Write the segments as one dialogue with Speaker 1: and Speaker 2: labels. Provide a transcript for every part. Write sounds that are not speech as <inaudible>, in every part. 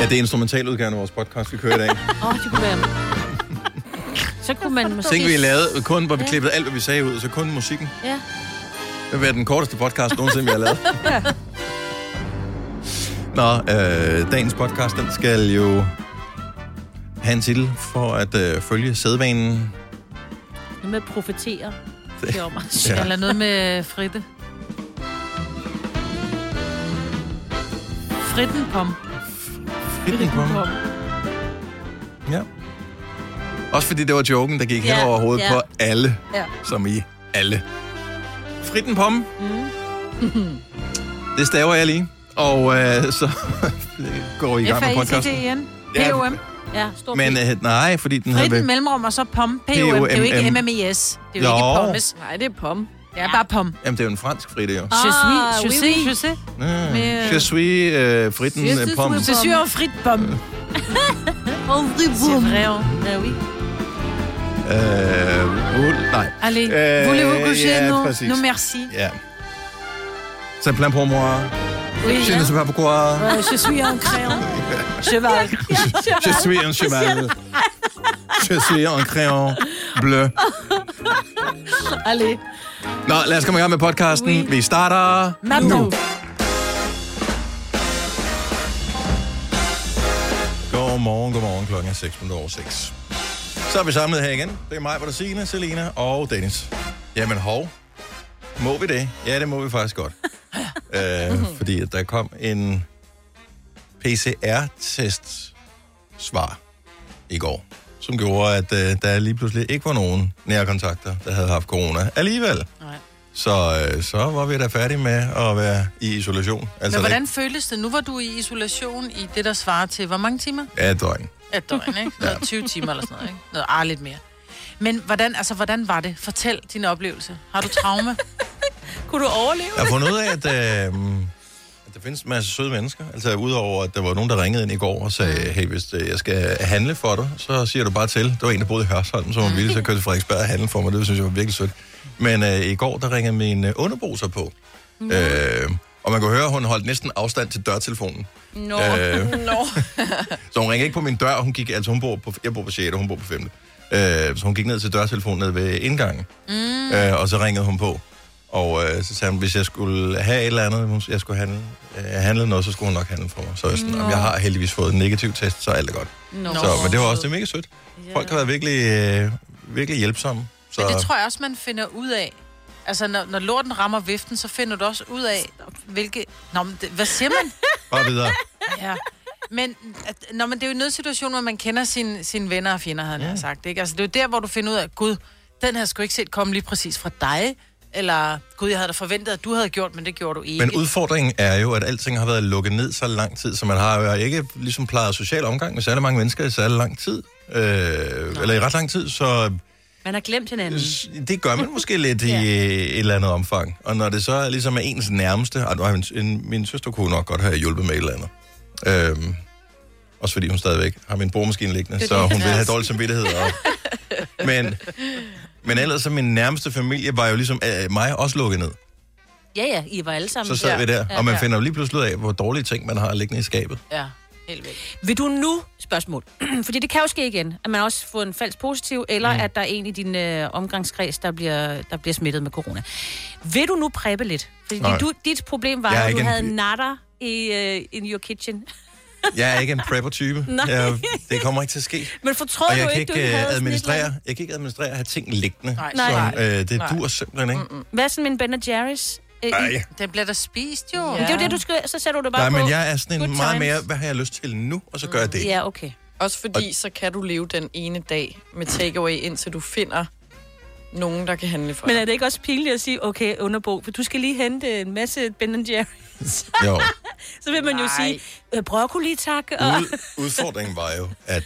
Speaker 1: Ja, det er instrumentaludgaven af vores podcast, vi kører i dag.
Speaker 2: Åh, oh, det kunne være... Så kunne man måske...
Speaker 1: Tænk, vi lavede kun, hvor vi klippede alt, hvad vi sagde ud, så kun musikken.
Speaker 2: Ja.
Speaker 1: Det vil være den korteste podcast nogensinde, vi har lavet. Nå, øh, dagens podcast, den skal jo have en titel for at øh, følge sædvanen.
Speaker 2: Noget med at profetere. Det er jo meget
Speaker 1: <laughs> Ja.
Speaker 2: ja.
Speaker 3: Eller noget
Speaker 2: øh,
Speaker 3: med fritte. Fritten pom.
Speaker 1: Fritten på mig. Ja. Også fordi det var joken, der gik
Speaker 2: Ja,
Speaker 1: ja, hen over hovedet
Speaker 2: ja.
Speaker 1: ja. på alle,
Speaker 2: Ja.
Speaker 1: som i alle. Fritten på mm. Det staver jeg lige. Og øh, så <laughs> går I i gang med podcasten.
Speaker 3: F-A-I-T-T-E-N.
Speaker 1: Ja.
Speaker 3: P-O-M.
Speaker 2: Ja, stor
Speaker 1: Men
Speaker 2: Men,
Speaker 1: øh, nej, fordi den havde...
Speaker 3: Fritten,
Speaker 1: været-
Speaker 3: mellemrum og så pom. P-O-M. Det er jo ikke
Speaker 1: P-O-M-M.
Speaker 3: M-M-E-S. Det er jo,
Speaker 1: Jo.
Speaker 3: ikke pommes.
Speaker 4: Nej, det er pom.
Speaker 3: Det er bare pom.
Speaker 1: Jamen, det er jo en fransk fritte, jo.
Speaker 3: Je
Speaker 2: Ah,
Speaker 3: suis, je
Speaker 2: oui, oui.
Speaker 3: suis, je sais.
Speaker 1: Mm. Je suis øh, fritten
Speaker 4: Je
Speaker 1: øh,
Speaker 4: suis
Speaker 1: pomme.
Speaker 3: Je suis en frit pom. <laughs> C'est vrai. hein. Eh
Speaker 2: ja, oui.
Speaker 1: Øh, ul, nej.
Speaker 3: Allez,
Speaker 1: Øh,
Speaker 3: voulez-vous coucher?
Speaker 1: ja,
Speaker 3: Non,
Speaker 1: præcis.
Speaker 3: non merci.
Speaker 1: Ja. Så plein pour moi.
Speaker 3: Oui,
Speaker 1: Je ne sais pas pourquoi.
Speaker 3: Euh, je suis un crayon. <laughs> Cheval.
Speaker 1: <laughs> Je suis un cheval. Je suis un crayon bleu.
Speaker 2: Allez.
Speaker 1: Nå, lad os komme i gang med podcasten. Oui. Vi starter...
Speaker 3: Maintenant.
Speaker 1: Altså, Godmorgen, godmorgen. Klokken er 6 minutter over 6. Så er vi samlet her igen. Det er mig, hvor der Signe, Selina og Dennis. Jamen hov. Må vi det? Ja, det må vi faktisk
Speaker 3: <laughs>
Speaker 1: godt. øh, fordi at der kom en PCR-test svar i går, som gjorde, at øh, der lige pludselig ikke var nogen nære kontakter, der havde haft corona alligevel.
Speaker 3: Nej.
Speaker 1: Så, øh, så var vi da færdige med at være i isolation. Altså,
Speaker 3: Men hvordan føles det? Nu var du i isolation i det, der svarer til, hvor mange timer?
Speaker 1: Ja, et døgn.
Speaker 3: Et døgn, ikke? Noget 20 timer eller sådan noget, ikke? Noget ah, lidt mere. Men hvordan, altså, hvordan var det? Fortæl din oplevelse. Har du traume?
Speaker 2: <laughs> Kunne du overleve?
Speaker 1: Jeg har fundet ud af, at, øh, at der findes en masse søde mennesker. Altså udover, at der var nogen, der ringede ind i går og sagde, hey, hvis øh, jeg skal handle for dig, så siger du bare til. Der var en, der boede i Hørsholm, som var villig til at køre til Frederiksberg og handle for mig. Det synes jeg var virkelig sødt. Men øh, i går, der ringede min øh, underbo så på. Øh, og man kunne høre, at hun holdt næsten afstand til dørtelefonen.
Speaker 4: Nå,
Speaker 1: Øh.
Speaker 4: <laughs> nå.
Speaker 1: Så hun ringede ikke på min dør, hun gik, altså hun bor på, jeg bor på 6. og hun bor på 5. Øh, så hun gik ned til dørtelefonen ned ved indgangen, mm. øh, og så ringede hun på. Og øh, så sagde hun, hvis jeg skulle have et eller andet, hun- jeg skulle handle, øh, handle noget, så skulle hun nok handle for mig. Så jeg, sådan, om jeg har heldigvis fået en negativ test, så er alt er godt.
Speaker 4: Nå.
Speaker 1: Så, men det var også det er mega sødt. Folk har været virkelig, øh, virkelig hjælpsomme. Så,
Speaker 3: Men det tror jeg også, man finder ud af. Altså, når, når lorten rammer viften, så finder du også ud af, hvilke... Nå, men det, hvad siger
Speaker 2: <laughs>
Speaker 3: man?
Speaker 1: bare videre.
Speaker 3: Ja. Men, at, når man, det er jo en nødsituation, hvor man kender sine sin venner og fjender, havde ja. sagt. Ikke? Altså, det er jo der, hvor du finder ud af, gud, den her skulle jeg ikke set komme lige præcis fra dig. Eller, gud, jeg havde da forventet, at du havde gjort, men det gjorde du ikke.
Speaker 1: Men udfordringen er jo, at alting har været lukket ned så lang tid, så man har jo ikke ligesom plejet social omgang med særlig mange mennesker i særlig lang tid. Øh, eller i ret lang tid, så
Speaker 2: Man har glemt hinanden.
Speaker 1: S- Det gør man måske lidt i øh, et eller andet omfang. Og når det så er ligesom er ens nærmeste... Ej, nu har min, en, min søster kunne nok godt have hjulpet med et eller andet. Øhm, også fordi hun stadigvæk har min boremaskine liggende, så hun vil have dårlig samvittighed. Og, men, men ellers så min nærmeste familie var jo ligesom øh, mig også lukket ned.
Speaker 2: Ja, ja, I var alle sammen.
Speaker 1: Så sad
Speaker 2: ja.
Speaker 1: vi der, og man
Speaker 3: ja.
Speaker 1: finder jo lige pludselig ud af, hvor dårlige ting man har liggende i skabet.
Speaker 3: Ja, helt vildt.
Speaker 2: Vil du nu, spørgsmål, <clears throat> fordi det kan jo ske igen, at man også får en falsk positiv, eller mm. at der er en i din øh, omgangskreds, der bliver, der bliver smittet med corona. Vil du nu præppe lidt? Fordi
Speaker 1: Nej.
Speaker 2: dit, du, dit problem var,
Speaker 1: Jeg er
Speaker 2: at du
Speaker 1: ikke en-
Speaker 2: havde natter i øh, in your kitchen. <laughs>
Speaker 1: Jeg er ikke en prepper-type.
Speaker 2: Nej.
Speaker 1: Jeg, det kommer ikke til at ske.
Speaker 2: Men fortrød
Speaker 1: Og
Speaker 2: du
Speaker 1: jeg kan
Speaker 2: ikke,
Speaker 1: ikke,
Speaker 2: du ikke
Speaker 1: ikke
Speaker 2: havde sådan et eller
Speaker 1: administrere, jeg kan ikke administrere at have ting liggende.
Speaker 3: Nej,
Speaker 2: Nej.
Speaker 1: Som,
Speaker 3: nej.
Speaker 1: øh, det
Speaker 3: Nej.
Speaker 1: dur simpelthen ikke. Mm-mm.
Speaker 2: andet? Hvad sådan med en Ben Jerry's? Øh, i-
Speaker 1: Ej.
Speaker 3: Den bliver da spist, jo.
Speaker 2: Men Det er jo det, du skal, så sætter du det bare
Speaker 1: Nej,
Speaker 2: på.
Speaker 1: men jeg er sådan en
Speaker 2: Good
Speaker 1: meget
Speaker 2: times.
Speaker 1: mere, hvad har jeg lyst til nu, og så gør jeg det.
Speaker 2: Ja, okay.
Speaker 4: Også fordi, så kan du leve den ene dag med takeaway, indtil du finder nogen, der kan handle for
Speaker 2: Men
Speaker 4: dig.
Speaker 2: er det ikke også pinligt at sige, okay, underbo, for du skal lige hente en masse Ben Jerry's? <laughs>
Speaker 1: Jo.
Speaker 2: så vil man jo
Speaker 4: Nej.
Speaker 2: sige, øh, broccoli tak, og
Speaker 1: Ud, udfordringen var jo, at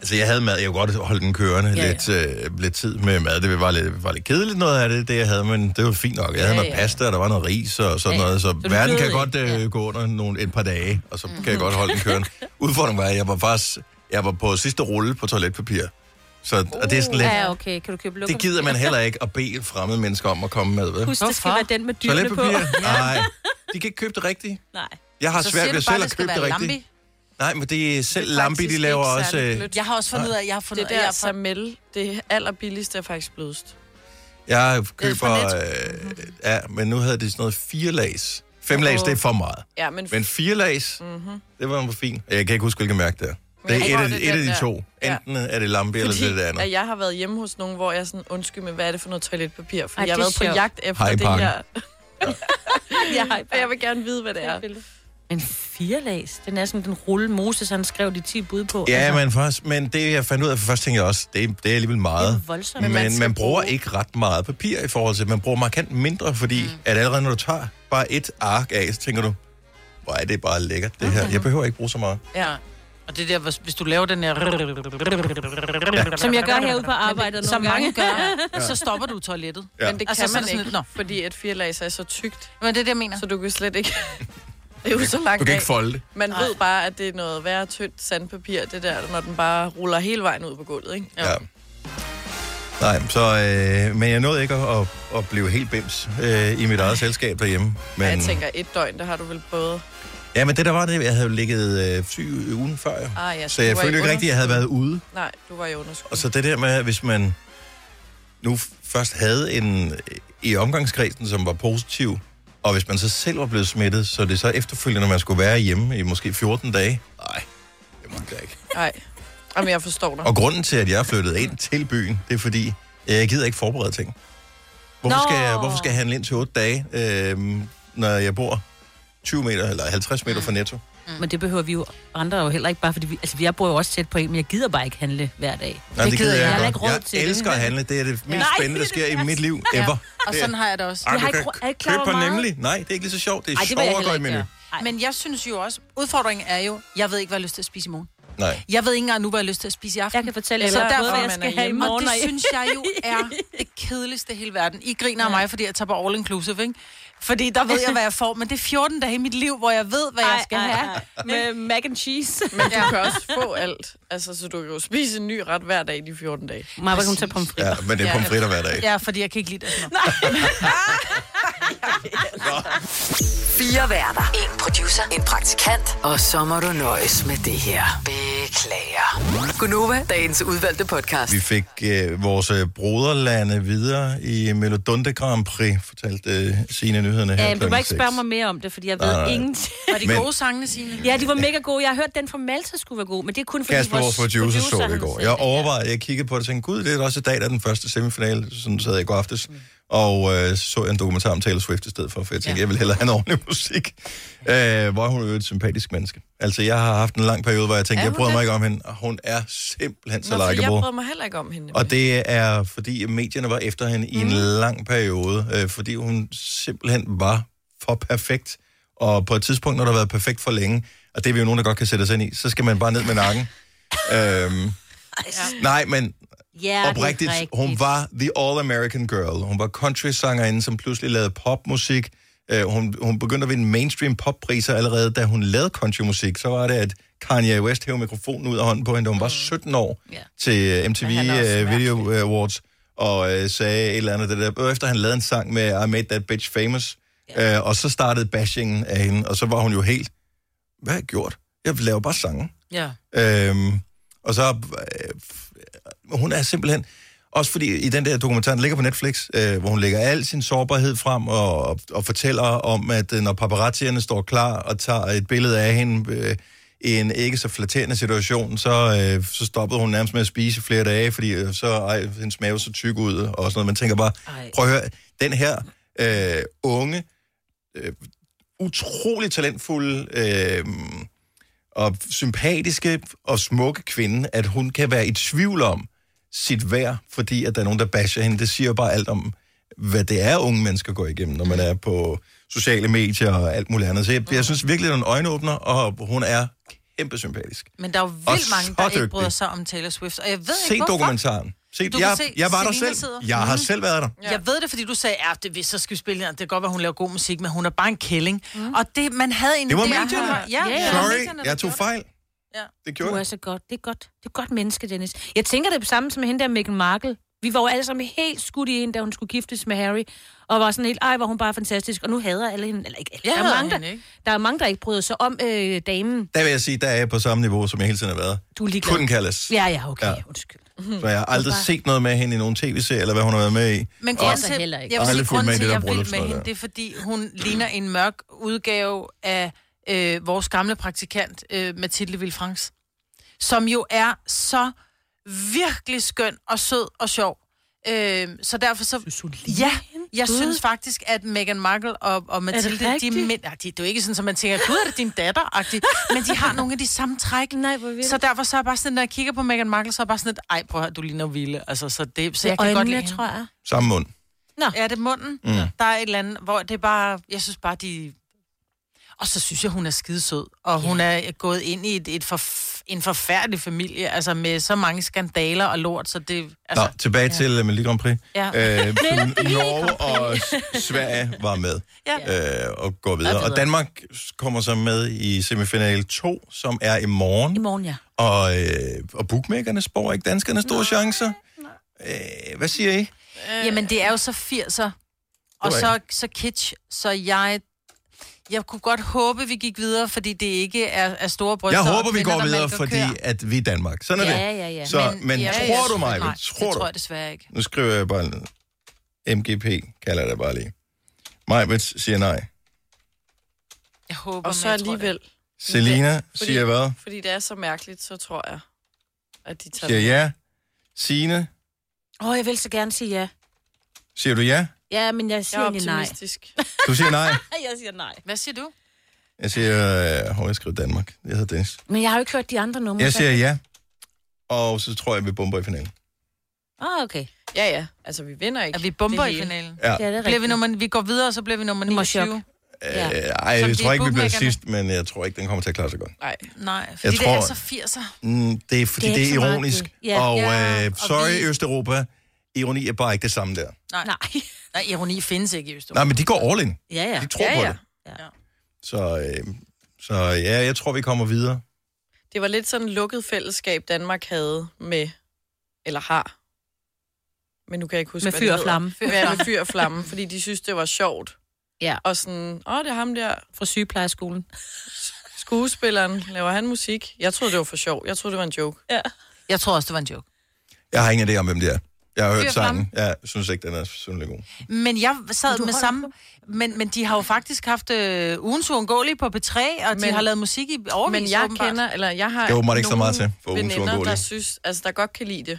Speaker 1: Altså, jeg havde mad. Jeg kunne godt holde den kørende ja,
Speaker 2: ja.
Speaker 1: lidt, øh, lidt tid med mad. Det var lidt, var lidt kedeligt noget af det, det jeg havde, men det var fint nok. Jeg havde
Speaker 4: Ja,
Speaker 1: noget
Speaker 4: ja.
Speaker 1: pasta, og der var noget ris og sådan
Speaker 2: Ja, ja.
Speaker 1: noget, så,
Speaker 2: du
Speaker 1: verden kan
Speaker 2: døde
Speaker 1: godt øh,
Speaker 2: ikke.
Speaker 1: gå under nogle, et par dage, og så kan
Speaker 2: Mhm.
Speaker 1: jeg godt holde den
Speaker 2: <laughs>
Speaker 1: kørende. Udfordringen var, at jeg var faktisk jeg var på sidste rulle på toiletpapir. Så og det er sådan lidt,
Speaker 2: Uh, Ja, okay. Kan du købe lukker?
Speaker 1: det gider man
Speaker 2: <laughs>
Speaker 1: heller ikke at bede fremmede mennesker om at komme med, ved.
Speaker 2: Husk, det skal
Speaker 3: Hvorfor?
Speaker 2: være den med dyrene på. <laughs>
Speaker 1: Toiletpapir? Nej. De kan ikke købe det rigtigt.
Speaker 2: Nej.
Speaker 1: Jeg har
Speaker 3: Så
Speaker 1: svært
Speaker 3: siger
Speaker 1: ved
Speaker 3: du
Speaker 1: selv
Speaker 3: bare,
Speaker 1: at
Speaker 3: det skal
Speaker 1: købe
Speaker 3: være
Speaker 1: det rigtigt.
Speaker 3: lambi.
Speaker 1: Nej, men det er selv
Speaker 4: Det er
Speaker 1: Lambi, de
Speaker 4: faktisk
Speaker 1: laver
Speaker 4: ikke
Speaker 1: også...
Speaker 4: særlig
Speaker 1: Øh,
Speaker 4: blødt.
Speaker 3: Jeg har også fundet ud af, jeg har fundet
Speaker 4: Det
Speaker 3: ud af, jeg
Speaker 4: der
Speaker 3: er fra-
Speaker 4: Samel, det billigste er faktisk blødest.
Speaker 1: jeg
Speaker 3: fra
Speaker 1: køber... Øh,
Speaker 4: Mhm.
Speaker 1: ja, men nu havde det sådan noget fire lags. Fem lags, det er for meget.
Speaker 4: Ja, men, Mm.
Speaker 1: Men fire lags,
Speaker 3: Mhm.
Speaker 1: mm-hmm. det var fint. Jeg kan ikke huske, hvilken mærke det er. Det er
Speaker 4: jeg
Speaker 1: et,
Speaker 4: tror,
Speaker 1: af,
Speaker 4: det er
Speaker 1: et af
Speaker 4: den
Speaker 1: de
Speaker 4: der.
Speaker 1: to.
Speaker 4: Ja.
Speaker 1: Enten er det Lambi, eller
Speaker 4: fordi,
Speaker 1: så er det det andet.
Speaker 4: at jeg har været hjemme hos nogen, hvor jeg sådan, undskyld, men hvad er det for noget toiletpapir? For
Speaker 2: Ej,
Speaker 4: jeg har
Speaker 2: det er
Speaker 4: været på
Speaker 2: sjovt.
Speaker 4: jagt efter
Speaker 1: Hej,
Speaker 4: det
Speaker 1: pakken.
Speaker 4: her,
Speaker 2: <laughs> Jeg har ikke
Speaker 4: og jeg vil gerne vide, hvad det er.
Speaker 2: En firelags? Den er sådan, den rulle Moses, han skrev de 10 bud på. Altså,
Speaker 1: Ja,
Speaker 4: altså-
Speaker 1: men, først, men det jeg fandt ud af, for først tænkte jeg også, det, det er alligevel meget.
Speaker 2: Det er voldsomt.
Speaker 1: men
Speaker 2: Men
Speaker 1: man,
Speaker 2: man
Speaker 1: man
Speaker 2: skal
Speaker 1: bruger
Speaker 2: bruge-
Speaker 1: ikke ret meget papir i forhold til, man bruger markant mindre, fordi mm. at allerede når du tager bare et ark af, så tænker du, hvor er det bare lækkert det her. Jeg behøver ikke bruge så meget.
Speaker 3: Ja. Og det der, hvis, hvis du laver den her...
Speaker 2: Som
Speaker 4: altså,
Speaker 2: jeg gør herude på arbejdet
Speaker 3: Som
Speaker 2: nogle
Speaker 3: mange
Speaker 2: gange.
Speaker 3: gør, så stopper du i toilettet.
Speaker 1: Ja.
Speaker 4: Men det kan
Speaker 3: Altså, så er
Speaker 4: man
Speaker 3: det sådan
Speaker 4: ikke,
Speaker 3: lidt, nå.
Speaker 4: fordi et firlags er så tykt,
Speaker 3: Men det er det, jeg mener.
Speaker 4: så du kan slet ikke... <laughs> det er jo så langt
Speaker 1: Du kan
Speaker 4: af.
Speaker 1: ikke folde det.
Speaker 4: Man ved bare, at det er noget værre tyndt sandpapir, det der, når den bare ruller hele vejen ud på gulvet, ikke?
Speaker 1: Ja. Nej, så, øh, men jeg nåede ikke at, at, at blive helt bims øh, i mit eget selskab derhjemme. Men,
Speaker 4: Men... Jeg tænker, et døgn, der har du vel både...
Speaker 1: ja, men det der var det, jeg havde jo ligget øh, syg ugen før, jo.
Speaker 4: Ah, ja,
Speaker 1: så jeg
Speaker 4: du var i
Speaker 1: følte jo ikke rigtigt, at jeg havde været ude.
Speaker 4: underskud. Nej, du var i underskud.
Speaker 1: Og så det der med, at hvis man nu f- først havde en i omgangskredsen, som var positiv, og hvis man så selv var blevet smittet, så det så efterfølgende, når man skulle være hjemme i måske 14 dage. Nej, det må jeg ikke.
Speaker 4: Nej, Jamen, jeg forstår dig.
Speaker 1: Og grunden til, at jeg er flyttet ind til byen, det er fordi, øh, jeg gider ikke forberede ting. Hvorfor,
Speaker 2: Nå.
Speaker 1: skal jeg, hvorfor skal jeg handle ind til 8 dage, øh, når jeg bor 20 meter eller 50 meter fra Netto?
Speaker 2: Men det behøver vi jo andre jo heller ikke, bare fordi vi, altså, jeg bor jo også tæt på en, men jeg gider bare ikke handle hver dag.
Speaker 1: Nej, det, gider jeg,
Speaker 2: Jeg har
Speaker 1: jeg
Speaker 2: ikke
Speaker 1: godt.
Speaker 2: råd
Speaker 1: Jeg
Speaker 2: til det.
Speaker 1: elsker at handle. Det er det mindst spændende, der sker i mit liv ever.
Speaker 3: Og sådan har jeg det også.
Speaker 1: Ej,
Speaker 2: Jeg
Speaker 1: du
Speaker 2: har
Speaker 1: kan
Speaker 2: ikke- er ikke klar
Speaker 1: købe
Speaker 2: over,
Speaker 1: på
Speaker 2: hvor meget-
Speaker 1: nemlig. Nej, det er ikke lige så sjovt. Det er
Speaker 2: Ej, det vil jeg
Speaker 1: sjovere at gå
Speaker 2: heller
Speaker 1: i
Speaker 2: ikke
Speaker 1: menu.
Speaker 2: gøre. Ej.
Speaker 3: Men jeg synes jo også, udfordringen er jo, jeg ved ikke, hvad jeg har lyst til at spise i morgen.
Speaker 1: Nej.
Speaker 3: Jeg ved ikke engang nu, hvad jeg har lyst til at spise i aften.
Speaker 2: Jeg kan fortælle jer,
Speaker 3: Eller
Speaker 2: så
Speaker 3: derfor,
Speaker 2: derfor, jeg
Speaker 4: man er
Speaker 2: skal have i
Speaker 4: hjemme.
Speaker 3: Og
Speaker 2: morgen.
Speaker 3: det
Speaker 2: og-
Speaker 3: synes jeg
Speaker 2: <laughs>
Speaker 3: jo er det kedeligste i hele verden. I griner af mig, fordi jeg tager på all inclusive, ikke? Fordi der ved jeg, hvad jeg får, men det er 14 dage i mit liv, hvor jeg ved, hvad jeg
Speaker 2: Ej,
Speaker 3: skal
Speaker 2: ej,
Speaker 3: have.
Speaker 2: ej. Med mac and cheese.
Speaker 4: <laughs> Men du kan også få alt. Altså, så du kan jo spise en ny ret hver dag i de 14 dage.
Speaker 2: Maja, kan hun tage pomfrit?
Speaker 1: Ja, men det er
Speaker 3: Ja.
Speaker 1: pomfritter hver dag.
Speaker 3: Ja, fordi jeg kan ikke lide det.
Speaker 1: <laughs>
Speaker 5: Fire værter. En producer. En praktikant. Og så må du nøjes med det her. Beklager. Gunova, dagens udvalgte podcast.
Speaker 1: Vi fik øh, vores øh, broderlande videre i Melodunde Grand Prix, fortalte øh, sine nyhederne her.
Speaker 2: Øhm, du må
Speaker 1: klokken
Speaker 2: ikke
Speaker 1: seks.
Speaker 2: spørge mig mere om det, fordi jeg ved
Speaker 1: Nej, nej.
Speaker 2: ingenting.
Speaker 3: Var de
Speaker 1: Men-
Speaker 3: gode sangene, Signe?
Speaker 2: Ja, de var mega gode. Jeg har hørt, den fra Malta skulle være god, men det er kun fordi
Speaker 1: Kasper, vores producer, så det
Speaker 2: han
Speaker 1: i går.
Speaker 2: sagde
Speaker 1: Jeg
Speaker 2: det.
Speaker 1: overvejede, jeg kiggede på det og tænkte, gud, det er da også i dag, der er den første semifinale, sådan sad jeg i går aftes. Og øh, så så jeg en dokumentar om Taylor Swift i stedet for, for jeg tænkte, ja. jeg vil hellere have en ordentlig <laughs> musik. Øh, hvor hun er jo et sympatisk menneske. Altså, jeg har haft en lang periode, hvor jeg tænkte,
Speaker 4: Er
Speaker 1: jeg
Speaker 4: hun
Speaker 1: bryder mig
Speaker 4: det?
Speaker 1: ikke om hende, og hun er simpelthen så
Speaker 4: Nå, fordi jeg
Speaker 1: likeable.
Speaker 4: bryder mig heller ikke om hende.
Speaker 1: Og det er, fordi medierne var efter hende mm. i en lang periode, øh, fordi hun simpelthen var for perfekt. Og på et tidspunkt, når der har været perfekt for længe, og det er vi jo nogen, der godt kan sætte os ind i, så skal man bare ned med nakken. øhm, nej, men
Speaker 2: Ja, det er
Speaker 1: oprigtigt, hun
Speaker 2: rigtigt.
Speaker 1: var the all-American girl. Hun var country-sangerinde, som pludselig lavede popmusik. Øh, hun, hun begyndte at vinde mainstream poppriser allerede, da hun lavede countrymusik. Så var det, at Kanye West hævde mikrofonen ud af hånden på hende, da hun var 17 år
Speaker 2: Mm. Ja.
Speaker 1: til øh, MTV
Speaker 4: han er også
Speaker 1: øh, Video
Speaker 4: mærkelig.
Speaker 1: Awards, og øh, sagde et eller andet af det der. Efter han lavede en sang med I Made That Bitch Famous, øh, og så startede bashingen af hende, og så var hun jo helt, hvad har jeg gjort? Jeg laver bare sange.
Speaker 3: Ja.
Speaker 1: Øhm, og så... Øh, f- hun er simpelthen... Også fordi i den der dokumentar, den ligger på Netflix, øh, hvor hun lægger al sin sårbarhed frem og, og, og fortæller om, at øh, når paparazzierne står klar og tager et billede af hende øh, i en ikke så flatterende situation, så, øh, så stoppede hun nærmest med at spise i flere dage, fordi øh, så ej, hendes mave så tyk ud og sådan noget. Man tænker bare,
Speaker 2: Ej.
Speaker 1: prøv at høre, den her øh, unge, øh, utrolig talentfulde... Øh, og sympatiske og smukke kvinde, at hun kan være i tvivl om sit værd, fordi at der er nogen, der basher hende. Det siger jo bare alt om, hvad det er, unge mennesker går igennem, når man er på sociale medier og alt muligt andet. Så jeg, jeg synes virkelig, at hun er en øjenåbner, og hun er kæmpe sympatisk.
Speaker 3: Men der er jo
Speaker 1: Og
Speaker 3: vildt mange,
Speaker 1: så
Speaker 3: der ikke
Speaker 1: dygtig.
Speaker 3: bryder sig om Taylor Swift. Og jeg ved
Speaker 1: Se
Speaker 3: ikke, hvorfor.
Speaker 1: dokumentaren. Se,
Speaker 3: Du kan
Speaker 1: jeg,
Speaker 3: se,
Speaker 1: jeg var der
Speaker 3: Selina
Speaker 1: selv.
Speaker 3: sidder.
Speaker 1: Jeg har
Speaker 3: Mhm.
Speaker 1: selv været der.
Speaker 3: Ja. Jeg ved det, fordi du sagde, at det, hvis så skal vi spille den, det kan godt være, hun laver god musik, men hun er bare en kælling. Mm. Og det, man havde en...
Speaker 1: Mhm. Det var
Speaker 3: idé-
Speaker 1: medierne.
Speaker 3: Ja,
Speaker 2: Ja,
Speaker 3: ja.
Speaker 2: ja.
Speaker 1: Sorry, jeg tog fejl.
Speaker 3: Ja.
Speaker 1: Det
Speaker 2: Du
Speaker 1: gjorde
Speaker 2: er
Speaker 1: jeg.
Speaker 2: så godt. Det er godt. Det er godt menneske, Dennis. Jeg tænker det er det samme som hende der Meghan Markle. Vi var jo alle sammen helt skudt i en, da hun skulle giftes med Harry. Og var sådan helt, ej, var hun bare fantastisk. Og nu hader alle hende. Eller ikke alle.
Speaker 3: Jeg
Speaker 2: der, er
Speaker 3: hader
Speaker 2: mange,
Speaker 3: hende,
Speaker 2: der,
Speaker 3: ikke?
Speaker 2: der er mange, der ikke bryder sig om øh, damen.
Speaker 1: Der vil jeg sige, der er jeg på samme niveau, som jeg hele tiden har været.
Speaker 2: Du er ligeglad.
Speaker 1: Couldn't care less.
Speaker 2: Ja, ja, okay.
Speaker 1: Ja.
Speaker 2: Ja. Undskyld.
Speaker 3: Mm.
Speaker 1: Så jeg har aldrig set noget med hende i nogen tv-serie, eller hvad hun har været med i.
Speaker 3: Men
Speaker 1: Og-
Speaker 3: grunden
Speaker 2: så
Speaker 3: til,
Speaker 2: heller ikke.
Speaker 3: jeg
Speaker 1: Og
Speaker 3: vil sige,
Speaker 1: alle
Speaker 3: grunden
Speaker 1: fulgte med i
Speaker 3: til, at
Speaker 1: det der
Speaker 3: jeg vil
Speaker 1: bryllupsfløjte
Speaker 3: med hende,
Speaker 1: der.
Speaker 3: det er, fordi hun ligner en mørk udgave af øh, vores gamle praktikant, øh, Mathilde Villefranks, som jo er så virkelig skøn og sød og sjov. Øh, så derfor så...
Speaker 2: Synes hun ligner
Speaker 3: Ja,
Speaker 2: hende?
Speaker 3: jeg
Speaker 2: Gud.
Speaker 3: synes faktisk, at Meghan Markle og, og Mathilde, de, er
Speaker 2: rigtigt?
Speaker 3: mænd, Ej, de, det er jo ikke sådan, at man tænker, gud, er det din datter? -agtigt. Men de har nogle af de samme træk.
Speaker 2: Nej, hvor <laughs> vildt.
Speaker 3: Så derfor så er jeg bare sådan, når jeg kigger på Meghan Markle, så er jeg bare sådan lidt, ej, prøv at høre, du ligner Ville. Altså, så, det, så jeg kan godt lide hende.
Speaker 2: tror jeg.
Speaker 1: Samme mund.
Speaker 3: Ja, det er munden. Mm. Der er et eller andet, hvor det er bare... Jeg synes bare, de... Og så synes jeg, hun er skidesød. Og hun er gået ind i et, et forf- en forfærdelig familie, altså med så mange skandaler og lort, så det...
Speaker 1: Nå,
Speaker 3: Altså,
Speaker 1: tilbage ja. til uh, Melodi Grand Prix.
Speaker 3: Ja. <laughs>
Speaker 1: Øh, Norge og S- Sverige var med ja. øh, og går videre. Og Danmark kommer så med i semifinal 2, som er i morgen.
Speaker 2: I morgen, ja.
Speaker 1: Og, øh, og bookmakerne spår ikke danskerne store chancer. Øh, hvad siger I?
Speaker 3: øh, jamen, det er jo så 80'er. Og
Speaker 1: Det
Speaker 3: så,
Speaker 1: var
Speaker 3: så kitsch, så jeg... Jeg kunne godt håbe, vi gik videre, fordi det ikke er, er store bryster.
Speaker 1: Jeg
Speaker 3: og
Speaker 1: håber, vi
Speaker 3: kvinder,
Speaker 1: går
Speaker 3: der
Speaker 1: videre,
Speaker 3: malker
Speaker 1: fordi
Speaker 3: køer.
Speaker 1: at vi er Danmark. Sådan er
Speaker 2: Ja,
Speaker 1: det.
Speaker 2: ja, ja.
Speaker 1: Så, men, men
Speaker 3: ja,
Speaker 1: tror
Speaker 3: ja,
Speaker 1: du mig?
Speaker 3: Nej,
Speaker 1: Tror
Speaker 3: det
Speaker 1: du?
Speaker 3: tror jeg desværre ikke.
Speaker 1: Nu skriver jeg bare en- MGP, kalder jeg det bare lige. Majbets siger nej.
Speaker 3: Jeg håber,
Speaker 4: Og så
Speaker 3: men jeg tror det
Speaker 4: alligevel,
Speaker 1: Selina
Speaker 4: fordi-
Speaker 1: siger hvad?
Speaker 4: fordi det er så mærkeligt, så tror jeg, at de tager
Speaker 1: Siger
Speaker 4: det.
Speaker 1: ja. Sine,
Speaker 2: Åh, oh, jeg vil så gerne sige ja.
Speaker 1: siger du ja?
Speaker 2: Ja, men jeg
Speaker 4: Jeg
Speaker 2: siger
Speaker 4: er
Speaker 2: egentlig nej.
Speaker 4: optimistisk.
Speaker 1: <laughs> Du siger
Speaker 4: <laughs>
Speaker 1: nej.
Speaker 2: Jeg siger nej.
Speaker 3: ikke. Hvad siger du?
Speaker 1: Jeg siger, øh, hvor jeg skrev Danmark. Jeg hedder Dennis.
Speaker 2: Men jeg har jo ikke hørt de andre
Speaker 3: Mm.
Speaker 2: numre.
Speaker 1: Jeg
Speaker 2: så-
Speaker 1: siger ja. Og så tror jeg, vi bomber i finalen.
Speaker 2: Ah, okay.
Speaker 4: Ja, ja. Altså, vi vinder ikke.
Speaker 3: At vi bomber
Speaker 4: det
Speaker 3: i
Speaker 4: hele.
Speaker 3: finalen?
Speaker 1: Ja.
Speaker 2: Ja, det er
Speaker 3: Bliver vi,
Speaker 2: rigtigt.
Speaker 3: nummer, vi går videre, og så bliver vi nummer
Speaker 2: Nummer chok.
Speaker 3: 29.
Speaker 1: Øh,
Speaker 2: Ja.
Speaker 1: ej,
Speaker 3: Som
Speaker 1: jeg
Speaker 3: de
Speaker 1: tror ikke, vi bliver
Speaker 3: bookmakerne.
Speaker 1: sidst, men jeg tror ikke, den kommer til at klare sig godt.
Speaker 4: Nej.
Speaker 3: Nej, fordi det
Speaker 1: tror-
Speaker 3: er altså så 80'er.
Speaker 1: Mm, det er, fordi
Speaker 2: Det er
Speaker 1: det er, det
Speaker 2: ikke
Speaker 1: er
Speaker 2: så meget
Speaker 1: ironisk.
Speaker 2: det. Ja.
Speaker 1: og
Speaker 3: Ja,
Speaker 1: øh,
Speaker 3: og
Speaker 1: sorry,
Speaker 3: vi-
Speaker 1: Østeuropa. Ironi er bare ikke det samme der.
Speaker 3: Nej. Nej.
Speaker 2: Nej.
Speaker 3: Nej, ironi findes ikke i Østeuropa.
Speaker 1: Nej, men de går all in.
Speaker 2: Ja, ja.
Speaker 1: De tror
Speaker 4: Ja,
Speaker 1: på
Speaker 4: ja.
Speaker 1: det.
Speaker 2: Ja.
Speaker 1: Så, øh, så ja, jeg tror, vi kommer videre.
Speaker 4: Det var lidt sådan et lukket fællesskab, Danmark havde med, eller har. Men nu kan jeg ikke huske,
Speaker 2: Med
Speaker 4: hvad
Speaker 2: fyr
Speaker 4: det
Speaker 2: og
Speaker 4: hedder.
Speaker 2: flamme.
Speaker 4: Ja, med fyr og flamme, fordi de synes, det var sjovt.
Speaker 2: Ja.
Speaker 4: Og sådan, åh, det er ham der,
Speaker 2: Fra sygeplejerskolen.
Speaker 4: skuespilleren, laver han musik? Jeg troede, det var for sjov. Jeg troede, det var en joke. Ja.
Speaker 3: Jeg tror også, det var en joke.
Speaker 1: Jeg har ingen idé om, hvem det er. Jeg har hørt
Speaker 3: Fyr frem.
Speaker 1: sangen. Jeg synes ikke, den er synderlig god.
Speaker 3: <laughs> Men jeg sad med samme... Men, men de har jo faktisk haft øh, ugens uundgåelige på P3, og men, de
Speaker 4: Men-
Speaker 3: har lavet musik i overvis,
Speaker 4: Men jeg
Speaker 3: åbenbart.
Speaker 4: kender, eller jeg har
Speaker 1: Det er åbenbart ikke så
Speaker 4: nogle
Speaker 1: meget til for ugens
Speaker 4: veninder,
Speaker 1: uundgåelige.
Speaker 4: der synes, altså der godt kan lide det.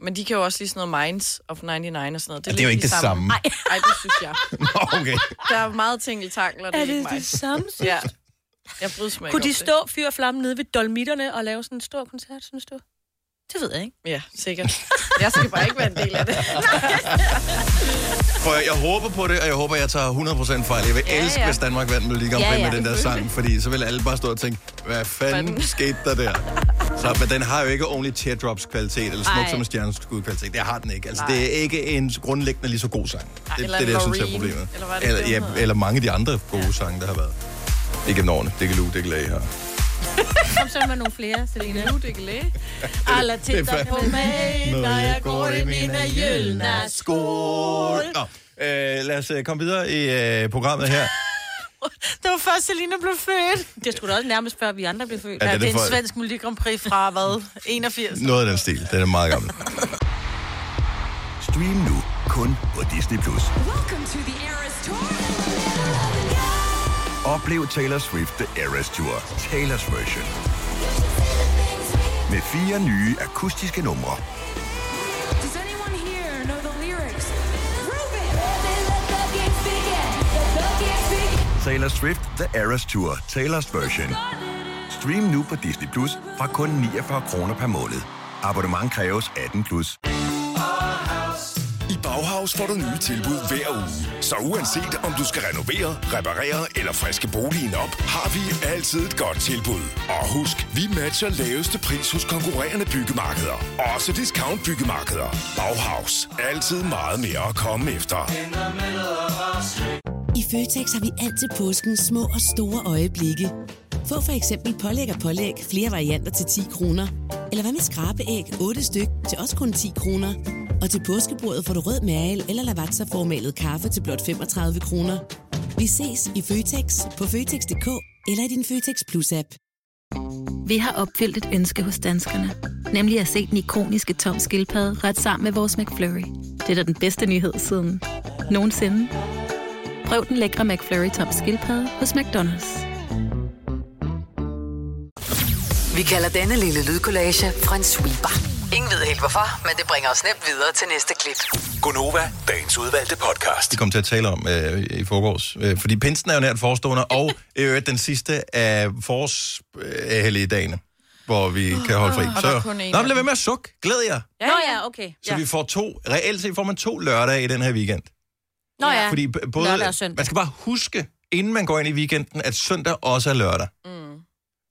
Speaker 4: Men de kan jo også lide sådan noget Minds of 99 og sådan noget.
Speaker 1: Det er jo
Speaker 4: lidt
Speaker 1: ikke det samme.
Speaker 4: Nej, Ej, det synes jeg.
Speaker 1: Nå, okay.
Speaker 4: Der er meget ting i tankler, det er, ikke mig.
Speaker 2: samme?
Speaker 4: <laughs> Ja. Jeg bryder mig ikke
Speaker 2: Kunne de
Speaker 4: om
Speaker 2: stå fyr og flamme nede ved dolmitterne og lave sådan en stor koncert, synes du? Det ved jeg
Speaker 4: <laughs>
Speaker 2: ikke.
Speaker 4: Det. Ja, sikkert. Jeg skal bare ikke være en del af det.
Speaker 1: For jeg, jeg håber på det, og jeg håber, jeg tager 100% fejl. Jeg vil ja, elske, ja. hvis Danmark vandt Melodi Grand Prix
Speaker 2: Ja,
Speaker 1: ja, ja.
Speaker 2: ja.
Speaker 1: med den der sang, fordi så vil alle bare stå og tænke, hvad
Speaker 4: <laughs>
Speaker 1: fanden skete der der? Så, men den har jo ikke ordentlig teardrops kvalitet, eller smuk
Speaker 2: Ej.
Speaker 1: som en stjerneskud kvalitet. Det har den ikke. Altså, det er ikke en grundlæggende lige så god sang. Det, det,
Speaker 4: eller
Speaker 1: er det, jeg synes er
Speaker 4: Loreen,
Speaker 1: problemet.
Speaker 4: eller hvad er det,
Speaker 1: eller,
Speaker 4: den
Speaker 1: ja,
Speaker 4: hedder?
Speaker 1: eller mange af de andre gode ja. sange, der har været. Ikke årene. Det kan Lue, det kan Lage her.
Speaker 2: Kom så med nogle flere, Selina.
Speaker 4: Nu er det ikke læge.
Speaker 2: Alle titter
Speaker 1: fandme-
Speaker 2: på mig, når jeg går i mine jølner.
Speaker 1: øh, skål. Nå, øh, lad os øh, komme videre i øh, programmet her.
Speaker 3: Det var først, Selina blev født.
Speaker 2: Det skulle da også nærmest før vi andre blev født.
Speaker 1: Ja,
Speaker 3: Ja,
Speaker 1: den er
Speaker 3: det er en
Speaker 1: for-
Speaker 3: svensk Melodi Grand Prix fra, hvad, 81?
Speaker 1: Noget af den stil. Den er meget gammel.
Speaker 6: Stream nu kun på Disney+. Plus. Oplev Taylor Swift The Eras Tour, Taylor's version. Med fire nye akustiske numre.
Speaker 7: Does anyone here know the lyrics? Prove it! let the games begin. Let the games begin.
Speaker 6: Taylor Swift The Eras Tour, Taylor's version. Stream nu på Disney Plus fra kun 49 kroner per måned. Abonnement kræves 18 plus.
Speaker 8: I Bauhaus får du nye tilbud hver uge. Så uanset om du skal renovere, reparere eller friske boligen op, har vi altid et godt tilbud. Og husk, vi matcher laveste pris hos konkurrerende byggemarkeder. Også discount byggemarkeder. Bauhaus. Altid meget mere at komme efter.
Speaker 9: I Føtex har vi altid påsken små og store øjeblikke. Få for eksempel pålæg og pålæg flere varianter til 10 kroner. Eller hvad med skrabeæg 8 styk til også kun 10 kroner. Og til påskebordet får du rød mal eller lavatserformalet kaffe til blot 35 kroner. Vi ses i Føtex på Føtex.dk eller i din Føtex Plus-app.
Speaker 10: Vi har opfyldt et ønske hos danskerne. Nemlig at se den ikoniske tom skildpadde ret sammen med vores McFlurry. Det er da den bedste nyhed siden nogensinde. Prøv den lækre McFlurry tom skildpadde hos McDonald's.
Speaker 5: Vi kalder denne lille lydkollage en sweeper. Ingen ved helt hvorfor, men det bringer os nemt videre til næste klip.
Speaker 8: Gunova, dagens udvalgte podcast.
Speaker 1: de kom til at tale om øh, i forgårs. Øh, fordi pinsen er jo nært forestående, og øh, den sidste af forårshelligdagene, hvor vi kan holde fri.
Speaker 2: Og Ah, der er
Speaker 1: Så,
Speaker 2: kun en
Speaker 1: nå,
Speaker 2: af
Speaker 1: men lad
Speaker 2: dem.
Speaker 1: være med at sukke. Glæd jer.
Speaker 2: Ja, Nå ja, okay.
Speaker 1: Så vi får to, reelt set får man to lørdage i den her weekend.
Speaker 2: Nå ja,
Speaker 1: Fordi b- både,
Speaker 2: lørdag og søndag.
Speaker 1: man skal bare huske, inden man går ind i weekenden, at søndag også er lørdag.
Speaker 4: Mm.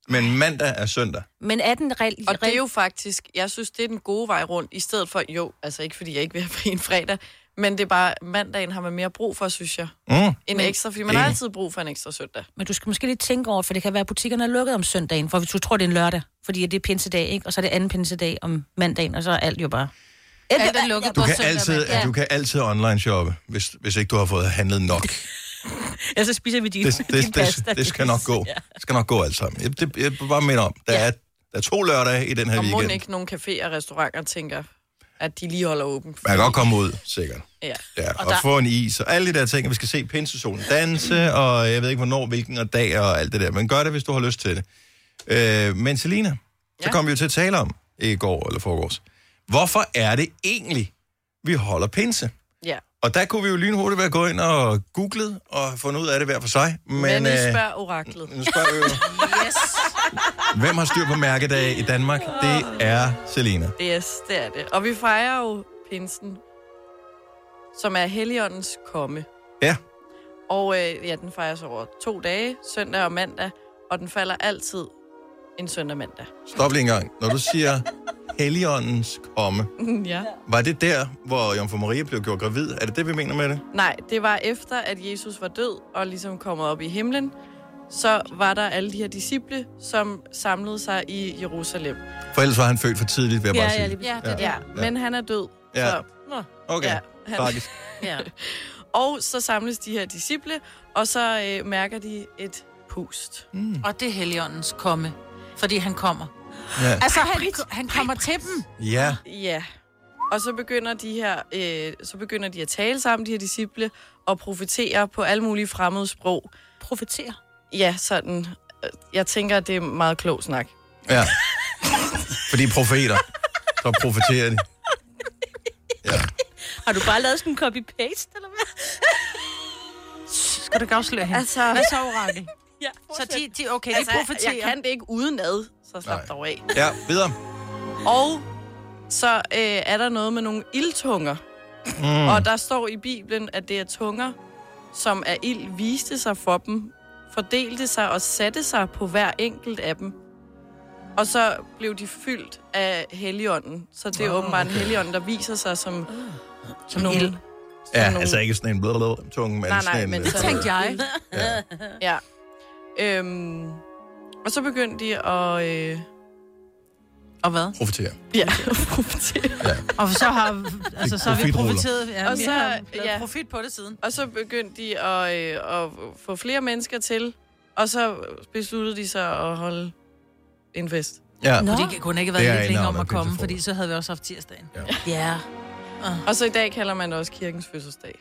Speaker 1: Men mandag er søndag.
Speaker 2: Men er den reelt...
Speaker 4: Og det er jo faktisk, jeg synes, det er den gode vej rundt, i stedet for, jo, altså ikke fordi jeg ikke vil have fri en fredag, men det er bare, mandagen har man mere brug for, synes jeg.
Speaker 1: Mm.
Speaker 4: En ekstra, fordi man har altid brug for en ekstra søndag.
Speaker 2: Men du skal måske lige tænke over, for det kan være, at butikkerne er lukket om søndagen, for hvis du tror, det er en lørdag, fordi det er pinsedag, ikke? og så er det anden pinsedag om mandagen, og så er alt jo bare...
Speaker 3: Alt er lukket
Speaker 1: Du
Speaker 3: på
Speaker 1: kan,
Speaker 3: søndag,
Speaker 1: altid,
Speaker 3: mand. Ja.
Speaker 1: du kan altid online shoppe, hvis, hvis ikke du har fået
Speaker 2: <laughs>
Speaker 1: handlet nok.
Speaker 2: Ja, så spiser vi din,
Speaker 1: det,
Speaker 2: din
Speaker 1: det,
Speaker 2: pasta.
Speaker 1: det, det skal nok gå. Det skal nok gå alt sammen. Jeg, det, jeg vil bare mener om, der, er, der er to lørdage i den her
Speaker 4: Og må
Speaker 1: weekend.
Speaker 4: ikke nogen caféer og restauranter tænker, at de lige holder åben.
Speaker 1: Man kan godt komme ud, sikkert.
Speaker 4: Ja.
Speaker 1: Ja, og,
Speaker 4: Og
Speaker 1: og
Speaker 4: der-
Speaker 1: få en is og alle de der ting. og Vi skal se pinsesolen danse, og jeg ved ikke, hvornår, hvilken og dag og alt det der. Men gør det, hvis du har lyst til det. Øh, men Selina, så
Speaker 4: Ja.
Speaker 1: kom vi jo til at tale om i går eller forgårs. Hvorfor er det egentlig, vi holder pinse?
Speaker 4: Ja.
Speaker 1: Og der kunne vi jo lynhurtigt være gået ind og googlet og fundet ud af det hver for sig. Men,
Speaker 4: Men, nu
Speaker 1: øh,
Speaker 4: spørger oraklet.
Speaker 1: Nu spørger jo.
Speaker 4: yes.
Speaker 1: <laughs> hvem har styr på mærkedage i Danmark? Det er Selina.
Speaker 4: yes, det er det. Og vi fejrer jo pinsen, som er Helligåndens komme.
Speaker 1: Ja.
Speaker 4: Og øh, ja, den fejres over to dage, søndag og mandag, og den falder altid en søndag mandag.
Speaker 1: Stop lige en gang. Når du siger Helligåndens komme,
Speaker 4: <laughs> ja.
Speaker 1: var det der, hvor Jomfru Maria blev gjort gravid? Er det det, vi mener med det?
Speaker 4: Nej, det var efter, at Jesus var død og ligesom kommet op i himlen, så var der alle de her disciple, som samlede sig i Jerusalem.
Speaker 1: For ellers var han født for tidligt, vil jeg bare sige.
Speaker 4: ja, det ja. Men han er død.
Speaker 1: Ja.
Speaker 4: Så. Nå.
Speaker 1: Okay,
Speaker 4: han-
Speaker 1: tragisk.
Speaker 4: <laughs> ja. Og så samles de her disciple, og så øh, mærker de et pust.
Speaker 3: Mm. Og det er Helligåndens komme, fordi han kommer.
Speaker 1: Ja.
Speaker 3: Altså, han, han kommer til dem.
Speaker 1: Ja.
Speaker 4: Ja. Og så begynder de her, øh, så begynder de at tale sammen, de her disciple, og profetere på alle mulige fremmede sprog.
Speaker 2: Profetere?
Speaker 4: Ja, sådan. øh, Jeg tænker, at det er meget klog snak.
Speaker 1: Ja. Fordi profeter, så profeterer de.
Speaker 2: Har du bare lavet sådan en copy-paste, eller hvad?
Speaker 3: <laughs> Skal du ikke afsløre hende?
Speaker 4: Altså-
Speaker 3: Hvad så, orakel?
Speaker 4: Ja,
Speaker 3: Så de, de, okay, altså, de profeterer.
Speaker 4: Jeg kan det ikke udenad, så slap
Speaker 1: Nej.
Speaker 4: dog af.
Speaker 1: Ja, videre.
Speaker 4: Og så øh, er der noget med nogle ildtunger. Mm. Og der står i Bibelen, at det er tunger, som af ild viste sig for dem, fordelte sig og satte sig på hver enkelt af dem. Og så blev de fyldt af helligånden. Så det er åbenbart en helligånd, der viser sig som, som nogle...
Speaker 3: ild.
Speaker 1: Ja,
Speaker 4: nogle-
Speaker 1: altså ikke sådan en blablabla tunge,
Speaker 4: Nej,
Speaker 1: men
Speaker 4: nej,
Speaker 1: sådan en...
Speaker 4: men
Speaker 1: øh,
Speaker 4: så- tænkte
Speaker 3: jeg.
Speaker 1: Ja.
Speaker 4: Ja. Øhm, og så begyndte de at... Øh,
Speaker 3: Og hvad?
Speaker 1: Profetere.
Speaker 4: ja, profetere.
Speaker 3: Og så har, altså, så har vi
Speaker 1: Profitruller.
Speaker 3: profiteret. Ja,
Speaker 4: Og
Speaker 3: vi
Speaker 4: så-
Speaker 3: har lavet
Speaker 4: ja.
Speaker 3: profit på det siden.
Speaker 4: Og så begyndte de at, øh, at få flere mennesker til, og så besluttede de sig at holde en fest.
Speaker 1: Ja.
Speaker 3: Nå. Fordi det kunne ikke have
Speaker 1: Det er
Speaker 3: været lidt
Speaker 1: indavnet
Speaker 3: længere om at komme,
Speaker 1: pinsefrokost.
Speaker 3: fordi så havde vi også haft tirsdagen.
Speaker 2: Ja.
Speaker 4: Ah. Og så i dag kalder man det også kirkens fødselsdag.